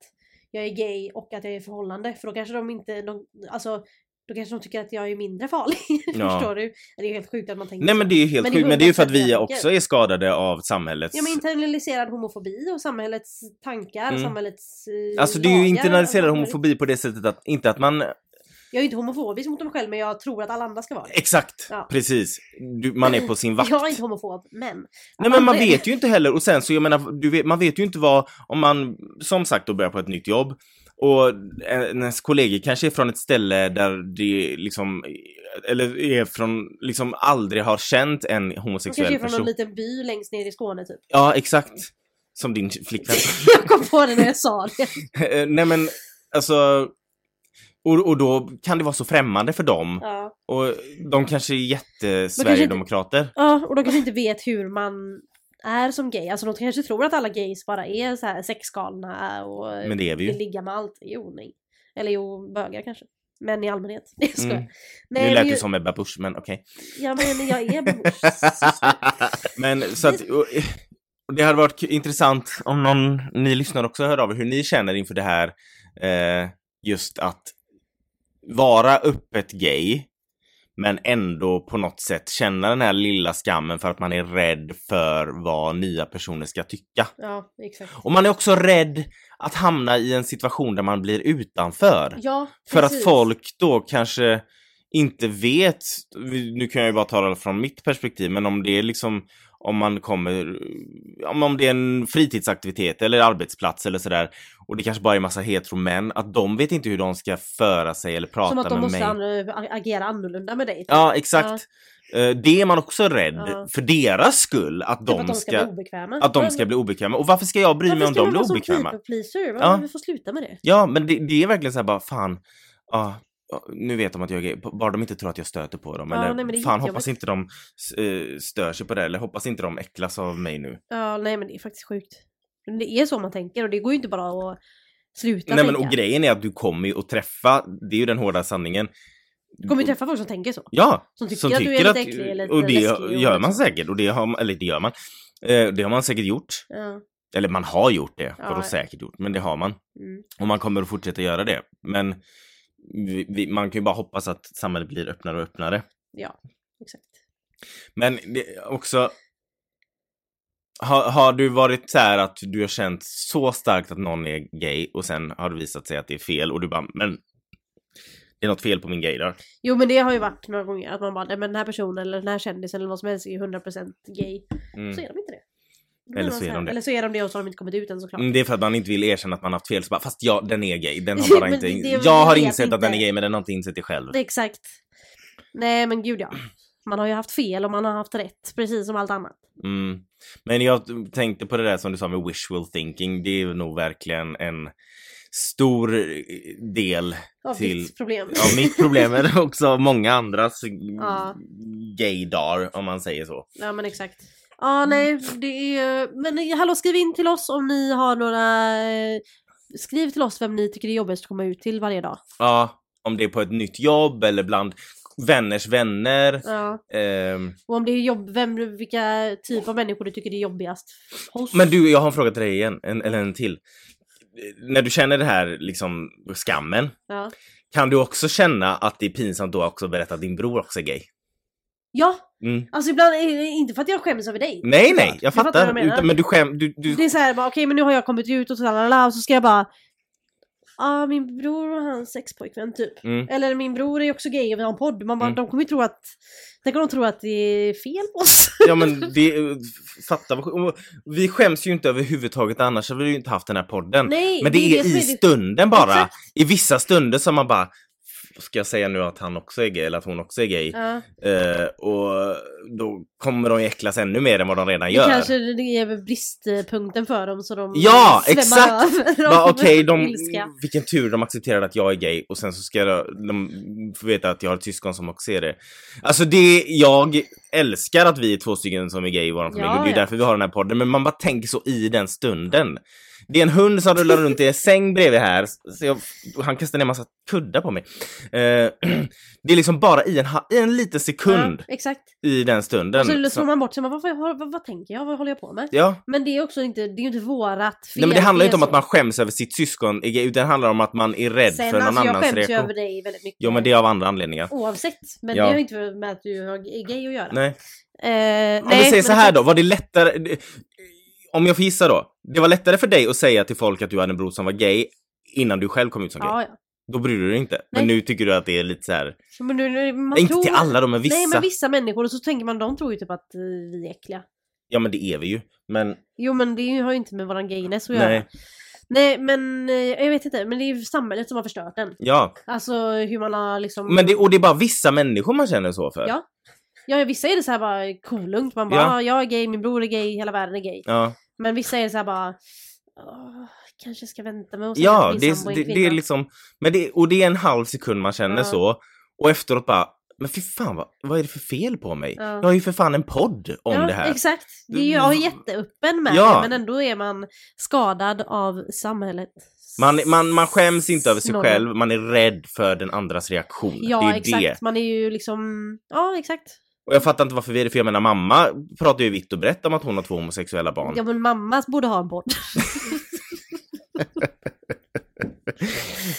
Speaker 1: jag är gay och att jag är i förhållande för då kanske de inte, de, alltså då kanske de tycker att jag är mindre farlig. [LAUGHS]
Speaker 2: Ja.
Speaker 1: Förstår du? Det är helt sjukt att man tänker
Speaker 2: Nej
Speaker 1: så.
Speaker 2: men det är ju helt
Speaker 1: Men det är
Speaker 2: sjukt, men det är ju för att
Speaker 1: 100%
Speaker 2: vi
Speaker 1: jag
Speaker 2: också är skadade av samhällets...
Speaker 1: Ja men internaliserad homofobi och samhällets tankar,
Speaker 2: Mm.
Speaker 1: samhällets eh,
Speaker 2: Alltså det är ju
Speaker 1: lagar,
Speaker 2: internaliserad
Speaker 1: alltså,
Speaker 2: homofobi på det sättet att, inte att man...
Speaker 1: Jag är ju inte homofobisk mot mig själv men jag tror att alla andra ska vara det.
Speaker 2: Exakt!
Speaker 1: Ja.
Speaker 2: Precis! Du, man är
Speaker 1: [LAUGHS]
Speaker 2: på sin vakt.
Speaker 1: Jag är inte homofob, men.
Speaker 2: Nej men man
Speaker 1: Aldrig.
Speaker 2: vet ju inte heller, och sen så jag menar, du vet, man vet ju inte vad, om man som sagt då börjar på ett nytt jobb och en- ens kollegor kanske är från ett ställe där det liksom, eller är från, liksom aldrig har känt en
Speaker 1: De kanske
Speaker 2: homosexuell
Speaker 1: är från
Speaker 2: person.
Speaker 1: någon liten by längst ner i Skåne typ.
Speaker 2: Ja exakt! Som din flickvän.
Speaker 1: jag kom på det när jag sa
Speaker 2: [LAUGHS]
Speaker 1: det.
Speaker 2: Eh, Nej men alltså, och, och då kan det vara så främmande för dem.
Speaker 1: Ja.
Speaker 2: Och de kanske är jättesverigedemokrater.
Speaker 1: Ja, och de kanske inte vet hur man är som gay. Alltså de kanske tror att alla gays bara är så här sexgalna och
Speaker 2: Men det är vi
Speaker 1: vill
Speaker 2: ju.
Speaker 1: ligga med allt. Jo, nej. Eller jo, bögar kanske. män i allmänhet. [LAUGHS] Nej, jag skojar.
Speaker 2: Mm.
Speaker 1: Nej,
Speaker 2: nu
Speaker 1: men
Speaker 2: lät
Speaker 1: ju-
Speaker 2: du som Ebba Busch, men okej.
Speaker 1: Ja, men jag
Speaker 2: [LAUGHS]
Speaker 1: är babors.
Speaker 2: men så att, och, och det hade varit k- intressant om någon, ni lyssnar också, hör av er hur ni känner inför det här. Eh, just att vara öppet gay, men ändå på något sätt känna den här lilla skammen för att man är rädd för vad nya personer ska tycka.
Speaker 1: [LAUGHS] Ja, exakt.
Speaker 2: Och man är också rädd att hamna i en situation där man blir utanför.
Speaker 1: Ja,
Speaker 2: För att
Speaker 1: precis.
Speaker 2: folk då kanske inte vet, nu kan jag ju bara tala från mitt perspektiv, men om det är liksom om man kommer, om, om det är en fritidsaktivitet eller arbetsplats eller sådär och det kanske bara är massa heteromän, att de vet inte hur de ska föra sig eller prata
Speaker 1: Som att de
Speaker 2: med
Speaker 1: måste
Speaker 2: mig.
Speaker 1: an- ä- agera annorlunda med dig. typ.
Speaker 2: Ja, exakt. Eh, Det är man också rädd
Speaker 1: Ja.
Speaker 2: för deras skull, att
Speaker 1: typ
Speaker 2: de,
Speaker 1: att de ska, bli obekväma.
Speaker 2: att de ska bli obekväma. Och varför ska jag bry mig om de blir obekväma?
Speaker 1: Varför ska man vara
Speaker 2: Ja.
Speaker 1: ja. Vi får sluta med det.
Speaker 2: Ja, men det, det är verkligen så här bara, fan, ja, ja, nu vet de att jag är gay. B- Bara de inte tror att jag stöter på dem.
Speaker 1: Ja,
Speaker 2: eller
Speaker 1: nej, men det är
Speaker 2: fan,
Speaker 1: jättejobbigt.
Speaker 2: hoppas inte de eh, stör sig på det. Eller hoppas inte de äcklas av mig nu.
Speaker 1: Ja, nej men det är faktiskt sjukt. Men det är så man tänker och det går ju inte bara att sluta
Speaker 2: nej, men
Speaker 1: tänka.
Speaker 2: och grejen är att du kommer ju att träffa, det är ju den hårda sanningen.
Speaker 1: Du kommer ju träffa folk som tänker så.
Speaker 2: Ja,
Speaker 1: Som tycker att du är lite äcklig eller
Speaker 2: Och det
Speaker 1: lite läskig och
Speaker 2: gör man
Speaker 1: liksom.
Speaker 2: säkert. Och det har, man- eller det gör man. Eh, Det har man säkert gjort.
Speaker 1: Ja.
Speaker 2: Eller man har gjort det.
Speaker 1: Ja.
Speaker 2: Vadå säkert gjort? Men det har man.
Speaker 1: Mm.
Speaker 2: Och man kommer att fortsätta göra det. Men vi, vi, man kan ju bara hoppas att samhället blir öppnare och öppnare.
Speaker 1: ja, exakt.
Speaker 2: Men det är också... Har, har du varit så här att du har känt så starkt att någon är gay och sen har det visat sig att det är fel och du bara men det är något fel på min gay där.
Speaker 1: Jo men det har ju varit några gånger att man bara, nej men den här personen eller den här kändisen eller vad som helst är ju 100% gay. Så
Speaker 2: Mm.
Speaker 1: är de inte det. Då
Speaker 2: Eller
Speaker 1: blir
Speaker 2: så
Speaker 1: man
Speaker 2: är
Speaker 1: här-
Speaker 2: de det.
Speaker 1: Eller så är de det och så har de inte kommit ut än såklart.
Speaker 2: Mm, Det är för att man inte vill erkänna att man haft fel så bara fast ja den är gay.
Speaker 1: [LAUGHS]
Speaker 2: Den har bara
Speaker 1: Men
Speaker 2: inte,
Speaker 1: det- det-
Speaker 2: jag har
Speaker 1: jag vet
Speaker 2: insett att den är
Speaker 1: inte.
Speaker 2: gay men den har inte insett det själv.
Speaker 1: Det är Exakt. Nej men gud ja. Man har ju haft fel och man har haft rätt, precis som allt annat.
Speaker 2: Mm. Men jag tänkte på det där som du sa med wishful thinking. Det är ju nog verkligen en stor eh, del
Speaker 1: Av
Speaker 2: Till-
Speaker 1: ditt problem.
Speaker 2: Ja, mitt problem är också många andras
Speaker 1: Ja.
Speaker 2: gaydar, om man säger så.
Speaker 1: Ja men exakt. Ja nej, det är Men hallå skriv in till oss om ni har några... eh, Skriv till oss vem ni tycker är jobbigast att komma ut till varje dag.
Speaker 2: Ja, om det är på ett nytt jobb eller bland vänners vänner.
Speaker 1: Ja.
Speaker 2: Ehm,
Speaker 1: Och om det är jobb... Vem, vilka typ av människor du tycker är jobbigast hos.
Speaker 2: Men du, jag har en fråga till dig igen, en, eller en till. Eh, När du känner det här liksom skammen,
Speaker 1: Ja.
Speaker 2: kan du också känna att det är pinsamt då också att berätta att din bror också är gay?
Speaker 1: ja,
Speaker 2: Mm.
Speaker 1: alltså ibland... eh, Inte för att jag skäms över dig.
Speaker 2: Nej,
Speaker 1: såklart.
Speaker 2: nej, jag
Speaker 1: Du vad
Speaker 2: fattar.
Speaker 1: jag menar.
Speaker 2: utan, men du skäm... Du, du,
Speaker 1: Det är såhär bara, okej men nu har jag kommit ut och så, lalala, och så ska jag bara... Ja, ah, min bror och hans sexpojkvän typ.
Speaker 2: Mm.
Speaker 1: Eller min bror är också gay och vi har en podd. Man bara,
Speaker 2: Mm.
Speaker 1: de kommer ju tro att... Tänk om de tror att det är fel på oss.
Speaker 2: Ja men det, eh, f- fatta vad sj- och Vi skäms ju inte överhuvudtaget annars hade vi ju inte haft den här podden.
Speaker 1: Nej,
Speaker 2: [LAUGHS] Men det, är,
Speaker 1: som
Speaker 2: i
Speaker 1: det-
Speaker 2: stunden bara.
Speaker 1: Exakt.
Speaker 2: I vissa stunder som man bara Ska jag säga nu att han också är gay eller att hon också är gay?
Speaker 1: Ja,
Speaker 2: Eh, och då kommer de ju äcklas ännu mer än vad de redan
Speaker 1: det
Speaker 2: gör.
Speaker 1: kanske det är väl bristpunkten för dem så de
Speaker 2: Ja,
Speaker 1: svämmar
Speaker 2: exakt!
Speaker 1: över [LAUGHS]
Speaker 2: Bara,
Speaker 1: av
Speaker 2: Okej, de,
Speaker 1: ilska.
Speaker 2: vilken tur de accepterade att jag är gay och sen så ska jag, de få veta att jag har ett syskon som också är det. Alltså det, jag älskar att vi är två stycken som är gay i vår familj
Speaker 1: Ja,
Speaker 2: och det är
Speaker 1: ja.
Speaker 2: därför vi har den här podden. Men man bara tänker så i den stunden. Det är en hund som rullar runt i en säng bredvid här, så jag, han kastar ner en massa kuddar på mig. Eh, [CLEARS THROAT] det är liksom bara i en, ha- i en liten sekund
Speaker 1: Ja, Alltså, exakt.
Speaker 2: i den
Speaker 1: Och
Speaker 2: stunden.
Speaker 1: så
Speaker 2: som-
Speaker 1: slår man bort sig, man bara, vad, vad, vad, vad tänker jag, vad håller jag på med?
Speaker 2: ja.
Speaker 1: Men det är också inte, det är ju inte vårat fel.
Speaker 2: Nej men det handlar
Speaker 1: är
Speaker 2: ju inte om
Speaker 1: så.
Speaker 2: att man skäms över sitt syskon, är gay, utan det handlar om att man är rädd
Speaker 1: Sen,
Speaker 2: för någon
Speaker 1: alltså, jag
Speaker 2: annans
Speaker 1: skäms ju
Speaker 2: reaktion.
Speaker 1: över dig väldigt mycket.
Speaker 2: Jo men det är av andra anledningar.
Speaker 1: Oavsett, men
Speaker 2: Ja.
Speaker 1: det har ju inte med att du har- är gay att göra.
Speaker 2: Nej.
Speaker 1: Eh,
Speaker 2: Om vi säger
Speaker 1: men
Speaker 2: så här
Speaker 1: exakt.
Speaker 2: då, var det lättare... det- Om jag får gissa då. Det var lättare för dig att säga till folk att du hade en bror som var gay innan du själv kom ut som gay.
Speaker 1: Ja, ja.
Speaker 2: Då brydde du dig inte. Men
Speaker 1: Nej.
Speaker 2: nu tycker du att det är lite så här...
Speaker 1: Så, Men nu, nu, man
Speaker 2: inte
Speaker 1: tror...
Speaker 2: till alla då, men vissa.
Speaker 1: Nej men vissa människor, och så tänker man, de tror ju typ att eh, vi är äckliga.
Speaker 2: Ja men det är vi ju. Men
Speaker 1: Jo men det har ju inte med våran gayness att göra.
Speaker 2: nej.
Speaker 1: Nej, men eh, jag vet inte, men det är ju samhället som har förstört den.
Speaker 2: Ja.
Speaker 1: Alltså hur man har liksom...
Speaker 2: Men det, och det är bara vissa människor man känner så för.
Speaker 1: Ja. Ja vissa är det så här bara kolugnt, man bara
Speaker 2: Ja.
Speaker 1: ja. jag är gay, min bror är gay, hela världen är gay.
Speaker 2: Ja,
Speaker 1: Men vissa är det så här bara "Åh, kanske ska vänta med och säga
Speaker 2: ja
Speaker 1: att
Speaker 2: det,
Speaker 1: min
Speaker 2: är-
Speaker 1: sambo är
Speaker 2: det,
Speaker 1: en
Speaker 2: det är
Speaker 1: kvinna."
Speaker 2: liksom... Men det, och det är en halv sekund man känner
Speaker 1: Ja.
Speaker 2: så. Och efteråt bara... Men fy fan, vad, vad är det för fel på mig?
Speaker 1: Ja.
Speaker 2: Jag har ju för fan en podd om
Speaker 1: ja,
Speaker 2: det här. Mm.
Speaker 1: exakt. Det är ju, jag är jätteöppen med
Speaker 2: Ja.
Speaker 1: det men ändå är man skadad av samhället.
Speaker 2: Man, man, man skäms inte över sig
Speaker 1: Snorre.
Speaker 2: själv, man är rädd för den andras reaktion. det
Speaker 1: Ja,
Speaker 2: är
Speaker 1: exakt.
Speaker 2: det.
Speaker 1: Man är ju liksom... Ja, exakt.
Speaker 2: Och jag fattar inte varför vi är det, för jag menar mamma pratar ju vitt och brett om att hon har två homosexuella barn.
Speaker 1: Ja, men mamma borde ha en podd.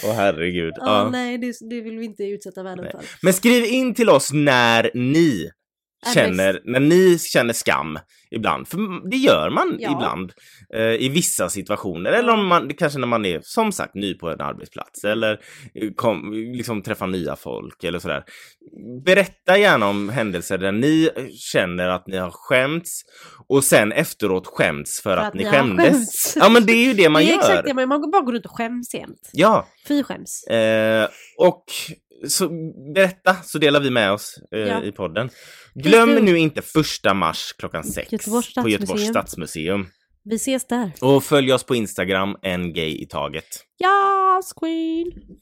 Speaker 2: Åh herregud.
Speaker 1: [LAUGHS] Ja,
Speaker 2: Ja.
Speaker 1: nej, det, det vill vi inte utsätta världen
Speaker 2: Nej.
Speaker 1: för.
Speaker 2: Men skriv in till oss när ni
Speaker 1: Är
Speaker 2: känner, när ni känner skam ibland. För det gör man
Speaker 1: Ja.
Speaker 2: ibland eh, i vissa situationer. Eller om man, kanske när man är som sagt ny på en arbetsplats eller eh, kom, liksom träffar nya folk eller sådär. Berätta gärna om händelser där ni eh, känner att ni har skämts och sen efteråt skämts för, att, ni
Speaker 1: har
Speaker 2: skämdes.
Speaker 1: skämts.
Speaker 2: Ja men det är ju det
Speaker 1: [LAUGHS]
Speaker 2: man
Speaker 1: det är
Speaker 2: gör.
Speaker 1: exakt det, man man bara går runt och skäms jämt.
Speaker 2: Ja.
Speaker 1: Fy skäms.
Speaker 2: Eh, och så berätta så delar vi med oss eh,
Speaker 1: Ja.
Speaker 2: i podden. Glöm
Speaker 1: Visst, du-
Speaker 2: nu inte första mars klockan sex
Speaker 1: Göteborgs
Speaker 2: på Göteborgs
Speaker 1: stadsmuseum.
Speaker 2: stadsmuseum.
Speaker 1: Vi ses där.
Speaker 2: Och följ oss på Instagram, en gay i taget.
Speaker 1: Yas, queen!